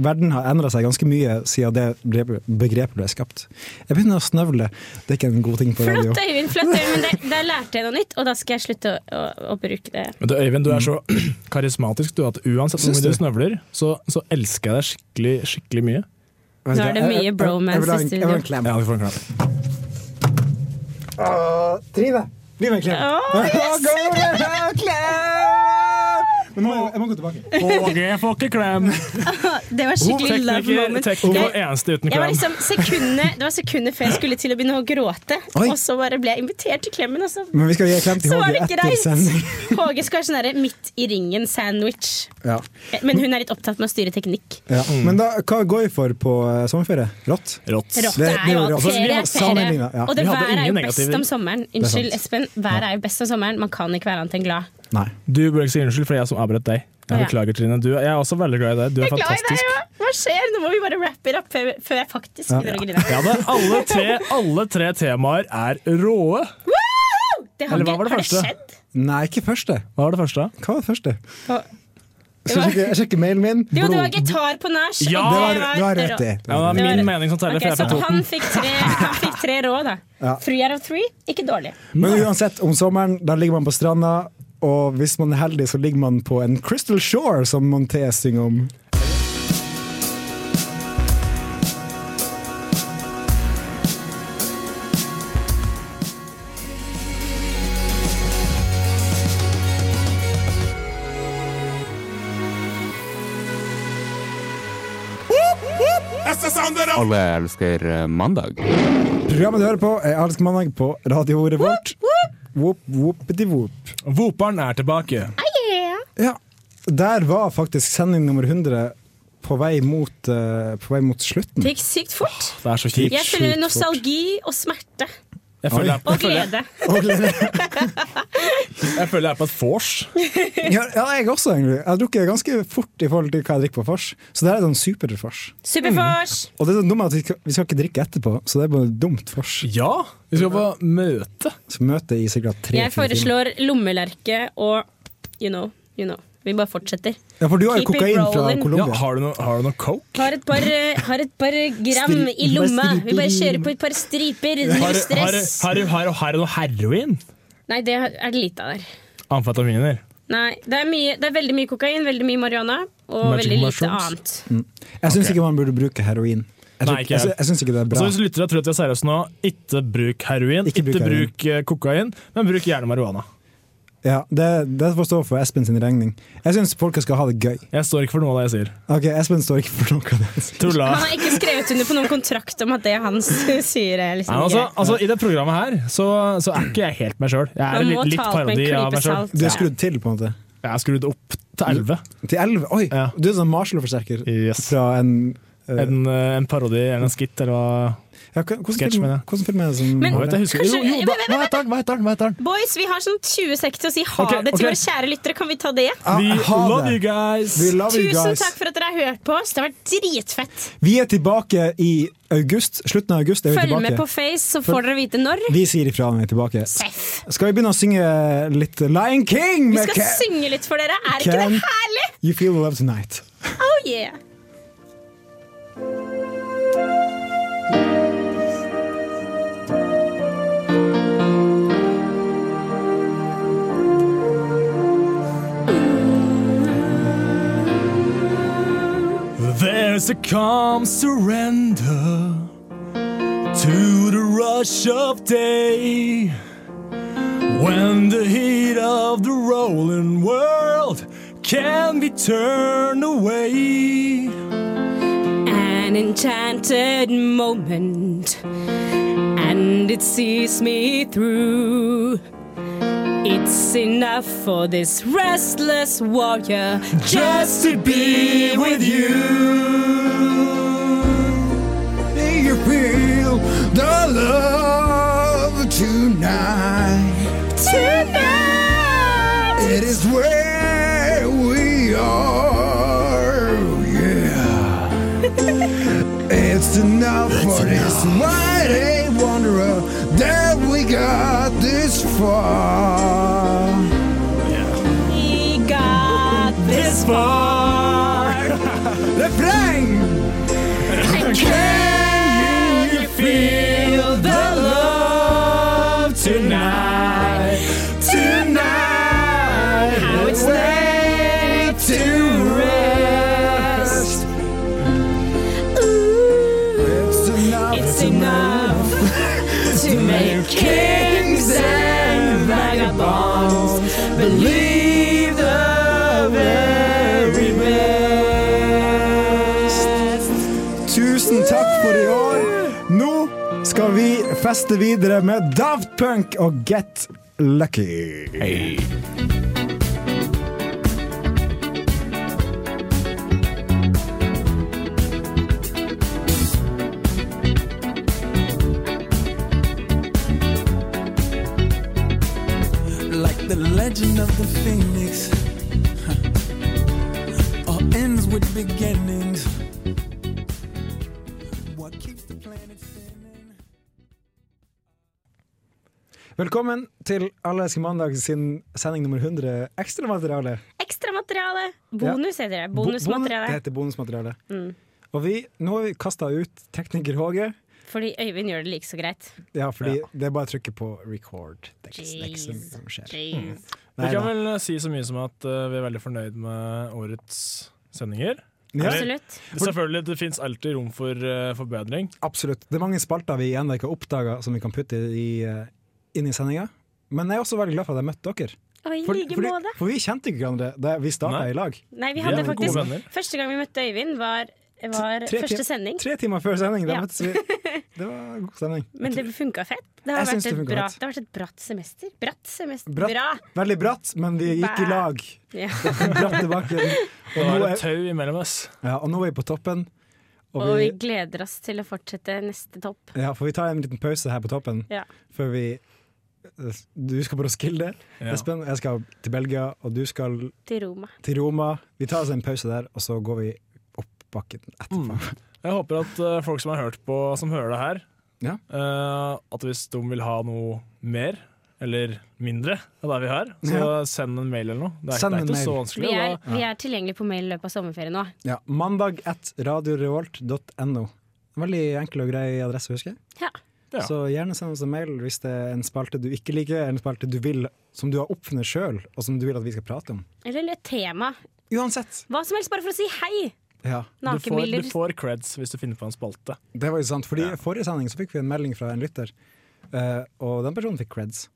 [SPEAKER 3] verden har endra seg ganske mye siden det begrepet- begrepet ble skapt. Jeg begynner å snøvle. Det er ikke en god ting på radio.
[SPEAKER 5] Flott, Øyvind! flott Øyvind, Der, der lærte jeg noe nytt, og da skal jeg slutte å, å, å bruke det.
[SPEAKER 4] Men du, Øyvind, du er så karismatisk du, at uansett hvor
[SPEAKER 3] Syns
[SPEAKER 4] mye Mm. du
[SPEAKER 3] du?
[SPEAKER 4] snøvler, så, så elsker jeg deg skikkelig, skikkelig mye.
[SPEAKER 3] Vet du
[SPEAKER 5] Nå er
[SPEAKER 3] hva?
[SPEAKER 5] det
[SPEAKER 3] Jeg-
[SPEAKER 5] mye
[SPEAKER 3] jeg- jeg-
[SPEAKER 5] bromance
[SPEAKER 3] jeg vil ha en-
[SPEAKER 5] i studio.
[SPEAKER 3] Jeg vil ha en klem.
[SPEAKER 4] Ja, du får en klem.
[SPEAKER 3] Trine, gi meg en klem.
[SPEAKER 5] Å,
[SPEAKER 3] Men nå, jeg må gå tilbake.
[SPEAKER 4] Og jeg får ikke klem!
[SPEAKER 5] Det var skikkelig love
[SPEAKER 4] Tekniker,
[SPEAKER 5] moment.
[SPEAKER 4] tekniker var
[SPEAKER 5] Jeg,
[SPEAKER 4] eneste uten
[SPEAKER 5] jeg var
[SPEAKER 4] klem.
[SPEAKER 5] liksom sekundet, det var sekundet før jeg skulle til å begynne å gråte,
[SPEAKER 3] Oi.
[SPEAKER 5] og så bare ble jeg invitert til klemmen. Og så,
[SPEAKER 3] Men vi skal gi en klem til
[SPEAKER 5] så var
[SPEAKER 3] Håge
[SPEAKER 5] det
[SPEAKER 3] etter
[SPEAKER 5] greit!
[SPEAKER 3] sending.
[SPEAKER 5] Håge skal ha sånn derre midt i ringen-sandwich.
[SPEAKER 3] Ja.
[SPEAKER 5] Men hun er litt opptatt med å styre teknikk.
[SPEAKER 3] Ja. Men da, hva går vi for på eh, sommerferie? Rått?
[SPEAKER 4] Rått.
[SPEAKER 5] Rått
[SPEAKER 3] Det-
[SPEAKER 5] er
[SPEAKER 3] det
[SPEAKER 5] jo
[SPEAKER 3] var
[SPEAKER 5] alt
[SPEAKER 3] rått.
[SPEAKER 5] ferie er
[SPEAKER 3] Altså, vi hadde
[SPEAKER 5] ferie.
[SPEAKER 3] sammenlignet, ja.
[SPEAKER 5] Og det
[SPEAKER 4] Vi hadde
[SPEAKER 5] været er jo
[SPEAKER 4] ingen
[SPEAKER 5] best
[SPEAKER 4] negativer.
[SPEAKER 5] om sommeren.
[SPEAKER 3] er sant.
[SPEAKER 5] Unnskyld, Espen. Været er jo best om sommeren. Man kan ikke være annet enn glad.
[SPEAKER 3] Nei.
[SPEAKER 4] Du bør ikke si unnskyld, for det er jeg som avbrøt deg. Jeg
[SPEAKER 5] Ja.
[SPEAKER 4] beklager, Trine. Du, jeg er også veldig glad i deg. Du er
[SPEAKER 5] Jeg er glad i deg,
[SPEAKER 4] fantastisk.
[SPEAKER 5] ja. Hva skjer? Nå må vi bare wrap it up før, før jeg faktisk begynner å grine.
[SPEAKER 4] Ja, da, alle, tre, alle tre temaer er råe.
[SPEAKER 5] Woo! Det har,
[SPEAKER 4] Eller hva
[SPEAKER 5] ikke-
[SPEAKER 4] var
[SPEAKER 5] har det
[SPEAKER 4] det første?
[SPEAKER 5] skjedd?
[SPEAKER 3] Nei, ikke første.
[SPEAKER 4] Hva var det første?
[SPEAKER 3] Hva var det første?
[SPEAKER 5] Hva-
[SPEAKER 3] Skal jeg sjekke, jeg sjekker mailen min?
[SPEAKER 5] Jo, det var
[SPEAKER 3] Blod.
[SPEAKER 5] gitar på nach. og
[SPEAKER 4] Ja!
[SPEAKER 3] Det
[SPEAKER 5] det
[SPEAKER 3] var, det var rett i.
[SPEAKER 4] Ja, det
[SPEAKER 5] Det
[SPEAKER 4] er
[SPEAKER 5] var-
[SPEAKER 4] min mening som teller,
[SPEAKER 5] Ok,
[SPEAKER 4] for jeg
[SPEAKER 5] så
[SPEAKER 4] er fra Toten.
[SPEAKER 5] han fikk tre, han fikk tre råd, da.
[SPEAKER 3] Ja.
[SPEAKER 5] Three out of three, ikke dårlig.
[SPEAKER 3] Men uansett, om sommeren, da ligger man på stranda. Og hvis man er heldig, så ligger man på en Crystal Shore, som Montez synger om.
[SPEAKER 10] Alle elsker eh, mandag.
[SPEAKER 3] Programmet du hører på, er Alsk mandag på Radio Revolt. Whoop, whoopity whoop.
[SPEAKER 4] Voperen er tilbake.
[SPEAKER 3] Ja, der var faktisk sending nummer 100 på vei mot, eh, på vei mot slutten.
[SPEAKER 5] Det gikk sykt fort.
[SPEAKER 4] Det er så kjipt.
[SPEAKER 5] Jeg føler
[SPEAKER 3] sjukt
[SPEAKER 5] nostalgi og smerte.
[SPEAKER 4] Jeg føler jeg,
[SPEAKER 5] Og
[SPEAKER 4] jeg, føler jeg,
[SPEAKER 5] glede.
[SPEAKER 3] Og gleder-
[SPEAKER 4] jeg, føler jeg er på et vors.
[SPEAKER 3] Ja, ja, jeg også, egentlig. Jeg drukker ganske fort i forhold til hva jeg drikker på vors. Så det her er sånn superdriftvors.
[SPEAKER 5] Superfors!
[SPEAKER 4] Mm.
[SPEAKER 3] Og det er sånn dumt at vi skal, vi skal ikke drikke etterpå, så det er bare dumt vors.
[SPEAKER 4] Ja, vi skal på møte.
[SPEAKER 3] Så møtet i sikkert tre
[SPEAKER 5] Jeg
[SPEAKER 3] fire timer.
[SPEAKER 5] foreslår lommelerke og you know, you know. Vi bare fortsetter.
[SPEAKER 3] Ja, for du har jo
[SPEAKER 5] Keep it
[SPEAKER 3] kokain fra
[SPEAKER 5] rolling.
[SPEAKER 4] Ja,
[SPEAKER 3] Colombia.
[SPEAKER 4] har, du noe, har du noe coke?
[SPEAKER 5] Har et par, eh, har et par gram i lomma. Vi bare kjører på et par striper. Null
[SPEAKER 4] Har, har,
[SPEAKER 5] stress.
[SPEAKER 4] har, har, har du noe heroin?
[SPEAKER 5] Nei, det er det lite av der.
[SPEAKER 4] Amfetaminer.
[SPEAKER 5] Nei, det er, mye, det er veldig mye kokain, veldig mye marihuana og
[SPEAKER 4] Magic
[SPEAKER 5] veldig lite
[SPEAKER 4] mushrooms.
[SPEAKER 5] annet.
[SPEAKER 3] Jeg syns ikke man burde bruke heroin. Jeg,
[SPEAKER 4] Nei,
[SPEAKER 3] tror-
[SPEAKER 4] ikke jeg.
[SPEAKER 3] jeg, sy- jeg syns ikke det er bra.
[SPEAKER 4] Så hvis lyttere tror at vi er seriøse nå, ikke bruk heroin,
[SPEAKER 3] Ikke
[SPEAKER 4] ikke,
[SPEAKER 3] bruk heroin.
[SPEAKER 4] bruk eh, kokain, men bruk gjerne marihuana.
[SPEAKER 3] Ja, det, det får stå for Espen sin regning. Jeg syns folk skal ha det gøy.
[SPEAKER 4] Jeg står ikke for noe av det jeg sier.
[SPEAKER 3] Ok, Espen står ikke for noe av det.
[SPEAKER 4] Tulla.
[SPEAKER 5] Han har ikke skrevet under på noen kontrakt om at det han sier er liksom
[SPEAKER 4] Nei, altså,
[SPEAKER 5] greit.
[SPEAKER 4] altså, I det programmet her så, så er ikke jeg helt meg sjøl. Jeg er
[SPEAKER 5] Man
[SPEAKER 4] litt,
[SPEAKER 5] må
[SPEAKER 4] litt
[SPEAKER 5] ta alt med
[SPEAKER 4] parodi
[SPEAKER 5] en
[SPEAKER 4] av
[SPEAKER 5] klype
[SPEAKER 4] meg sjøl.
[SPEAKER 5] salt.
[SPEAKER 3] Du er skrudd til, på en måte.
[SPEAKER 4] Jeg er skrudd opp til 11.
[SPEAKER 3] Til elleve? Oi!
[SPEAKER 4] Ja.
[SPEAKER 3] Du er sånn Marshall-forsterker
[SPEAKER 4] Yes.
[SPEAKER 3] fra en eh,
[SPEAKER 4] En, eh, en parodi eller en skitt eller hva
[SPEAKER 3] ja, hva- hvordan,
[SPEAKER 4] sketsj,
[SPEAKER 3] film,
[SPEAKER 4] mener jeg.
[SPEAKER 3] hvordan film er det som
[SPEAKER 5] Men-
[SPEAKER 4] Hva vet jeg, husker
[SPEAKER 5] Kanskje-
[SPEAKER 4] Jo, jo, da, hva heter den? Hva heter den? Hva heter den?
[SPEAKER 5] Boys, vi har sånn 20 sek til å si ha
[SPEAKER 4] Ok,
[SPEAKER 5] det til
[SPEAKER 4] ok.
[SPEAKER 5] våre kjære lyttere. Kan vi ta det?
[SPEAKER 3] Ah,
[SPEAKER 4] We
[SPEAKER 3] ha
[SPEAKER 4] love
[SPEAKER 3] det.
[SPEAKER 4] you guys!
[SPEAKER 3] We love you
[SPEAKER 5] Tusen
[SPEAKER 3] guys.
[SPEAKER 5] takk for at dere har hørt på oss. Det har vært dritfett.
[SPEAKER 3] Vi er tilbake i august. Slutten av august er vi
[SPEAKER 5] Følg med
[SPEAKER 3] tilbake.
[SPEAKER 5] på Face, så får dere vite når.
[SPEAKER 3] Vi sier ifra når vi er tilbake.
[SPEAKER 5] Seff.
[SPEAKER 3] Skal vi begynne å synge litt Lion King?
[SPEAKER 5] Vi
[SPEAKER 3] med
[SPEAKER 5] skal
[SPEAKER 3] Ca-
[SPEAKER 5] synge litt for dere. Er ikke
[SPEAKER 3] Can-
[SPEAKER 5] det herlig?
[SPEAKER 3] You feel love tonight.
[SPEAKER 5] Oh yeah!
[SPEAKER 4] There's a calm surrender to the rush of day when the heat of the rolling world can be turned away.
[SPEAKER 5] An enchanted moment, and it sees me through. It's enough for this restless warrior
[SPEAKER 4] Just to be with you.
[SPEAKER 3] Do you feel the love tonight?
[SPEAKER 5] tonight.
[SPEAKER 3] It is where we are, yeah.
[SPEAKER 11] just enough for this mighty wanderer that we got this far.
[SPEAKER 5] We got this far.
[SPEAKER 11] Refrain!
[SPEAKER 9] Can you feel the love tonight? Tonight, how it's laid to rest.
[SPEAKER 11] It's enough.
[SPEAKER 9] It's enough to make kings and vagabonds believe the very best.
[SPEAKER 3] Tusen takk for i år. Nå skal vi feste videre med Daft Punk og Get Lucky.
[SPEAKER 12] like the legend of the phoenix. huh. All ends with beginnings. What keeps the planet spinning?
[SPEAKER 3] Velkommen til Allerske mandag sin sending nummer 100 ekstramateriale.
[SPEAKER 5] Ekstramateriale. Bonus heter det.
[SPEAKER 3] Bo- bonus- Det
[SPEAKER 5] Bonusmateriale.
[SPEAKER 3] heter bonusmateriale.
[SPEAKER 5] Mm.
[SPEAKER 3] Og vi, nå har vi kasta ut tekniker Håge.
[SPEAKER 5] Fordi Øyvind gjør det like så greit.
[SPEAKER 3] Ja, fordi det er bare å trykke på record. Det er ikke- det er ikke så mye
[SPEAKER 5] Jeez.
[SPEAKER 3] som skjer.
[SPEAKER 5] Jeez.
[SPEAKER 4] Vi
[SPEAKER 3] Nei
[SPEAKER 4] kan
[SPEAKER 3] da.
[SPEAKER 4] vel si så mye som at eh, vi er veldig fornøyd med årets sendinger.
[SPEAKER 3] Ja.
[SPEAKER 4] Eller-
[SPEAKER 3] Absolutt.
[SPEAKER 4] Det- Selvfølgelig, det fins alltid rom for eh, forbedring.
[SPEAKER 3] Absolutt. Det er mange spalter vi ennå ikke har oppdaga som vi kan putte i, eh, inn i sendinga. Men jeg er også veldig glad for at jeg møtte dere.
[SPEAKER 5] Og i
[SPEAKER 3] For,
[SPEAKER 5] like
[SPEAKER 3] fordi,
[SPEAKER 5] måte.
[SPEAKER 3] for vi kjente ikke hverandre da vi starta i lag.
[SPEAKER 5] Nei, vi hadde
[SPEAKER 3] er gode venner.
[SPEAKER 5] faktisk Første gang vi møtte Øyvind, var, var
[SPEAKER 3] Tre
[SPEAKER 5] første
[SPEAKER 3] tim-
[SPEAKER 5] sending.
[SPEAKER 3] Tre timer før sending. Da
[SPEAKER 5] Ja.
[SPEAKER 3] møttes vi. Det var god stemning.
[SPEAKER 5] Men det funka fett. Det
[SPEAKER 3] Jeg
[SPEAKER 5] har, vært
[SPEAKER 3] syns det
[SPEAKER 5] et,
[SPEAKER 3] funka
[SPEAKER 5] bra,
[SPEAKER 3] fett.
[SPEAKER 5] det har vært et bratt semester. Bratt semester.
[SPEAKER 3] Bratt.
[SPEAKER 5] Bra!
[SPEAKER 3] Veldig bratt, men vi gikk i
[SPEAKER 5] Bæ.
[SPEAKER 3] lag.
[SPEAKER 5] Ja.
[SPEAKER 3] Bratt tilbake.
[SPEAKER 4] Det var et
[SPEAKER 3] tau
[SPEAKER 4] imellom oss.
[SPEAKER 3] Ja, og nå er vi på toppen. Og
[SPEAKER 5] Og vi
[SPEAKER 3] vi,
[SPEAKER 5] gleder oss til å fortsette neste topp.
[SPEAKER 3] ja, for vi tar en liten pause her på toppen
[SPEAKER 5] Ja.
[SPEAKER 3] før vi Du skal på Roskilde,
[SPEAKER 5] Ja.
[SPEAKER 3] Espen. Jeg skal til Belgia, og du skal
[SPEAKER 5] Til Roma.
[SPEAKER 3] til Roma. Vi tar oss en pause der, og så går vi opp bakken etterpå.
[SPEAKER 5] Mm.
[SPEAKER 4] Jeg håper at eh, folk som har hørt på, som hører det her, eh, at hvis de vil ha noe mer eller mindre av det vi har, så
[SPEAKER 3] Ja.
[SPEAKER 4] send en mail eller noe. Det er,
[SPEAKER 3] Send
[SPEAKER 4] det er
[SPEAKER 3] en
[SPEAKER 4] ikke
[SPEAKER 3] mail.
[SPEAKER 4] så vanskelig.
[SPEAKER 5] Vi er,
[SPEAKER 4] og da-
[SPEAKER 5] vi er tilgjengelig på mail i løpet av sommerferien nå.
[SPEAKER 3] Ja, mandag at radiorevolt.no. Veldig enkel og grei adresse, husker jeg.
[SPEAKER 5] Ja.
[SPEAKER 3] Så gjerne send oss en mail hvis det er en spalte du ikke liker, en spalte du vil, som du har oppfunnet sjøl, og som du vil at vi skal prate om.
[SPEAKER 5] Eller et tema.
[SPEAKER 3] Uansett.
[SPEAKER 5] Hva som helst, bare for å si hei!
[SPEAKER 4] Du, får,
[SPEAKER 5] Nakenbilder.
[SPEAKER 4] du får creds hvis du finner på en spalte.
[SPEAKER 3] Det var jo sant, fordi i forrige sending så fikk vi en melding fra en lytter, eh, og den personen fikk creds.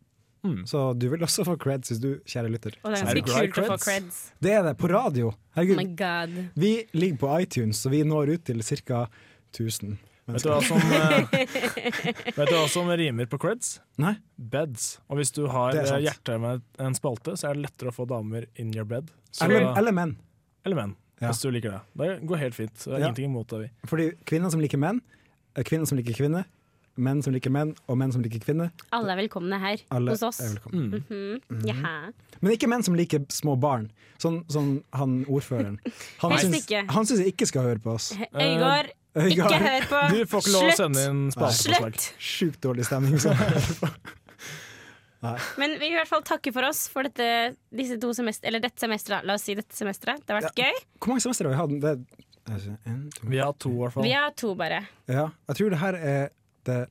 [SPEAKER 3] Så du vil også få creds hvis du, kjære lytter.
[SPEAKER 5] Og det er
[SPEAKER 3] sender
[SPEAKER 5] ganske
[SPEAKER 3] creds.
[SPEAKER 5] kult å få creds.
[SPEAKER 3] Det er det, på radio.
[SPEAKER 5] Oh my
[SPEAKER 3] Herregud.
[SPEAKER 5] god.
[SPEAKER 3] vi ligger på iTunes, så vi når ut til ca. 1000
[SPEAKER 4] Vet du hva som, eh, vet du hva som rimer på creds?
[SPEAKER 3] Nei.
[SPEAKER 4] Beds. Og hvis du har
[SPEAKER 3] Det er sant.
[SPEAKER 4] eh, hjertet med en spalte, så er det lettere å få damer in your bed. Så,
[SPEAKER 3] Eller, eller menn.
[SPEAKER 4] Eller menn,
[SPEAKER 3] Ja.
[SPEAKER 4] hvis du liker det. Det går helt fint. Det er
[SPEAKER 3] Ja.
[SPEAKER 4] Ingenting imot det. vi
[SPEAKER 3] Fordi kvinner som liker menn, eh, kvinner som liker kvinner, menn som liker menn, og menn som liker kvinner.
[SPEAKER 5] Alle er velkomne her
[SPEAKER 3] Alle
[SPEAKER 5] hos oss.
[SPEAKER 3] er velkomne. Mm.
[SPEAKER 5] Mhm.
[SPEAKER 3] Mhm.
[SPEAKER 5] Jaha.
[SPEAKER 3] Men ikke menn som liker små barn, sånn, sånn han ordføreren. Han
[SPEAKER 5] Helst
[SPEAKER 3] syns,
[SPEAKER 5] ikke.
[SPEAKER 3] han syns jeg ikke skal høre på oss.
[SPEAKER 5] Øygard, ikke hør på!
[SPEAKER 4] Du får ikke lov å
[SPEAKER 5] Slutt.
[SPEAKER 4] sende inn spalteforslag.
[SPEAKER 5] Slutt!
[SPEAKER 3] Sjukt dårlig stemning. Så. Nei.
[SPEAKER 5] Men vi vil i hvert fall takke for oss for dette, disse to semester, eller dette semesteret. da. La oss si dette semesteret. Det har vært gøy.
[SPEAKER 3] Hvor mange semestre har vi hatt? Det, er- altså, en, to.
[SPEAKER 4] Vi har to, i hvert
[SPEAKER 5] Vi har to, bare.
[SPEAKER 3] Ja, jeg tror det her er det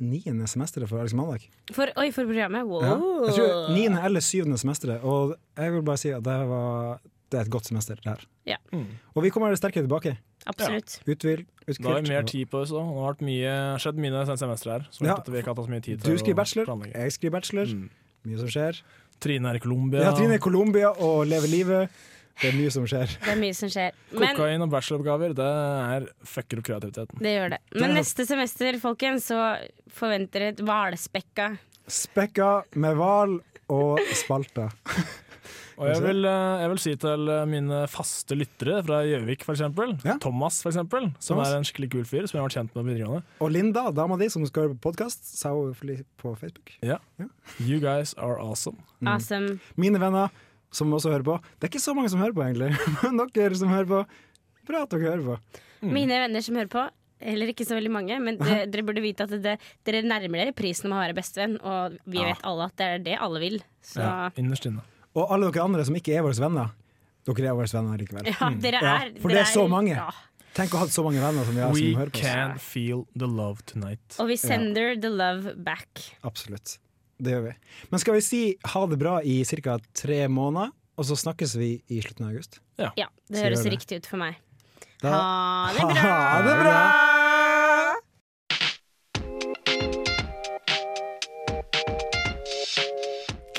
[SPEAKER 3] niende semesteret for Alex Mandag.
[SPEAKER 5] For, oi, for programmet. Wow.
[SPEAKER 3] Ja. Jeg tror niende eller syvende semesteret, og jeg vil bare si at det, var, det er et godt semester. Det her.
[SPEAKER 5] Ja.
[SPEAKER 3] Og vi kommer sterkere tilbake.
[SPEAKER 5] Absolutt.
[SPEAKER 3] Uthvil, uthvilt.
[SPEAKER 4] Da har vi mer tid på oss. da. Det har vært mye, skjedd mye det siste semesteret her. Så
[SPEAKER 3] Ja.
[SPEAKER 4] at vi ikke har hatt så mye tid
[SPEAKER 3] Du
[SPEAKER 4] til
[SPEAKER 3] skriver bachelor,
[SPEAKER 4] jeg
[SPEAKER 3] skriver bachelor. Mye som skjer.
[SPEAKER 4] Trine er i Colombia.
[SPEAKER 3] Mm. Ja, Trine er i Colombia og lever livet. Det er mye som skjer.
[SPEAKER 5] Det er mye som skjer. Men
[SPEAKER 4] Kokain og bacheloroppgaver, det er fucker opp kreativiteten.
[SPEAKER 5] det gjør det. Men neste semester, folkens, så forventer et hvalspekka
[SPEAKER 3] Spekka med hval og spalter.
[SPEAKER 4] Og jeg vil, eh, jeg vil si til eh, mine faste lyttere fra Gjøvik, for eksempel. Thomas, for eksempel, som
[SPEAKER 3] Thomas.
[SPEAKER 4] er en skikkelig kul fyr som jeg har vært kjent med på videregående.
[SPEAKER 3] Og Linda, dama di som skal høre på podkast, sa hun fli- på Facebook.
[SPEAKER 4] Ja. You guys are awesome.
[SPEAKER 5] Awesome.
[SPEAKER 3] Mine venner som også hører på. Det er ikke så mange som hører på, egentlig. Men dere som hører på, bra at dere hører på.
[SPEAKER 5] Mine venner som hører på, heller ikke så veldig mange, men dere, dere burde vite at det, dere nærmer dere prisen om å være bestevenn, og vi
[SPEAKER 3] Ja.
[SPEAKER 5] vet alle at det er det alle vil. Så
[SPEAKER 3] Ja,
[SPEAKER 4] Innerst inne.
[SPEAKER 3] Og alle dere andre som ikke er våre venner, dere er våre venner likevel.
[SPEAKER 5] Ja,
[SPEAKER 3] Mm.
[SPEAKER 5] dere
[SPEAKER 3] Ja,
[SPEAKER 5] er-
[SPEAKER 3] for det
[SPEAKER 5] dere
[SPEAKER 3] er så
[SPEAKER 5] er-
[SPEAKER 3] mange.
[SPEAKER 5] ja.
[SPEAKER 3] Tenk å ha hatt så mange venner som vi har
[SPEAKER 4] We
[SPEAKER 3] som hører på oss.
[SPEAKER 4] can feel the love tonight.
[SPEAKER 5] Og vi sender the love back.
[SPEAKER 3] Absolutt. Det gjør vi. Men skal vi si ha det bra i ca. tre måneder, og så snakkes vi i slutten av august?
[SPEAKER 4] Ja,
[SPEAKER 5] det
[SPEAKER 3] Så gjør
[SPEAKER 5] høres
[SPEAKER 3] det.
[SPEAKER 5] riktig ut for meg.
[SPEAKER 3] Da-
[SPEAKER 5] Ha det bra!
[SPEAKER 3] Ha det bra!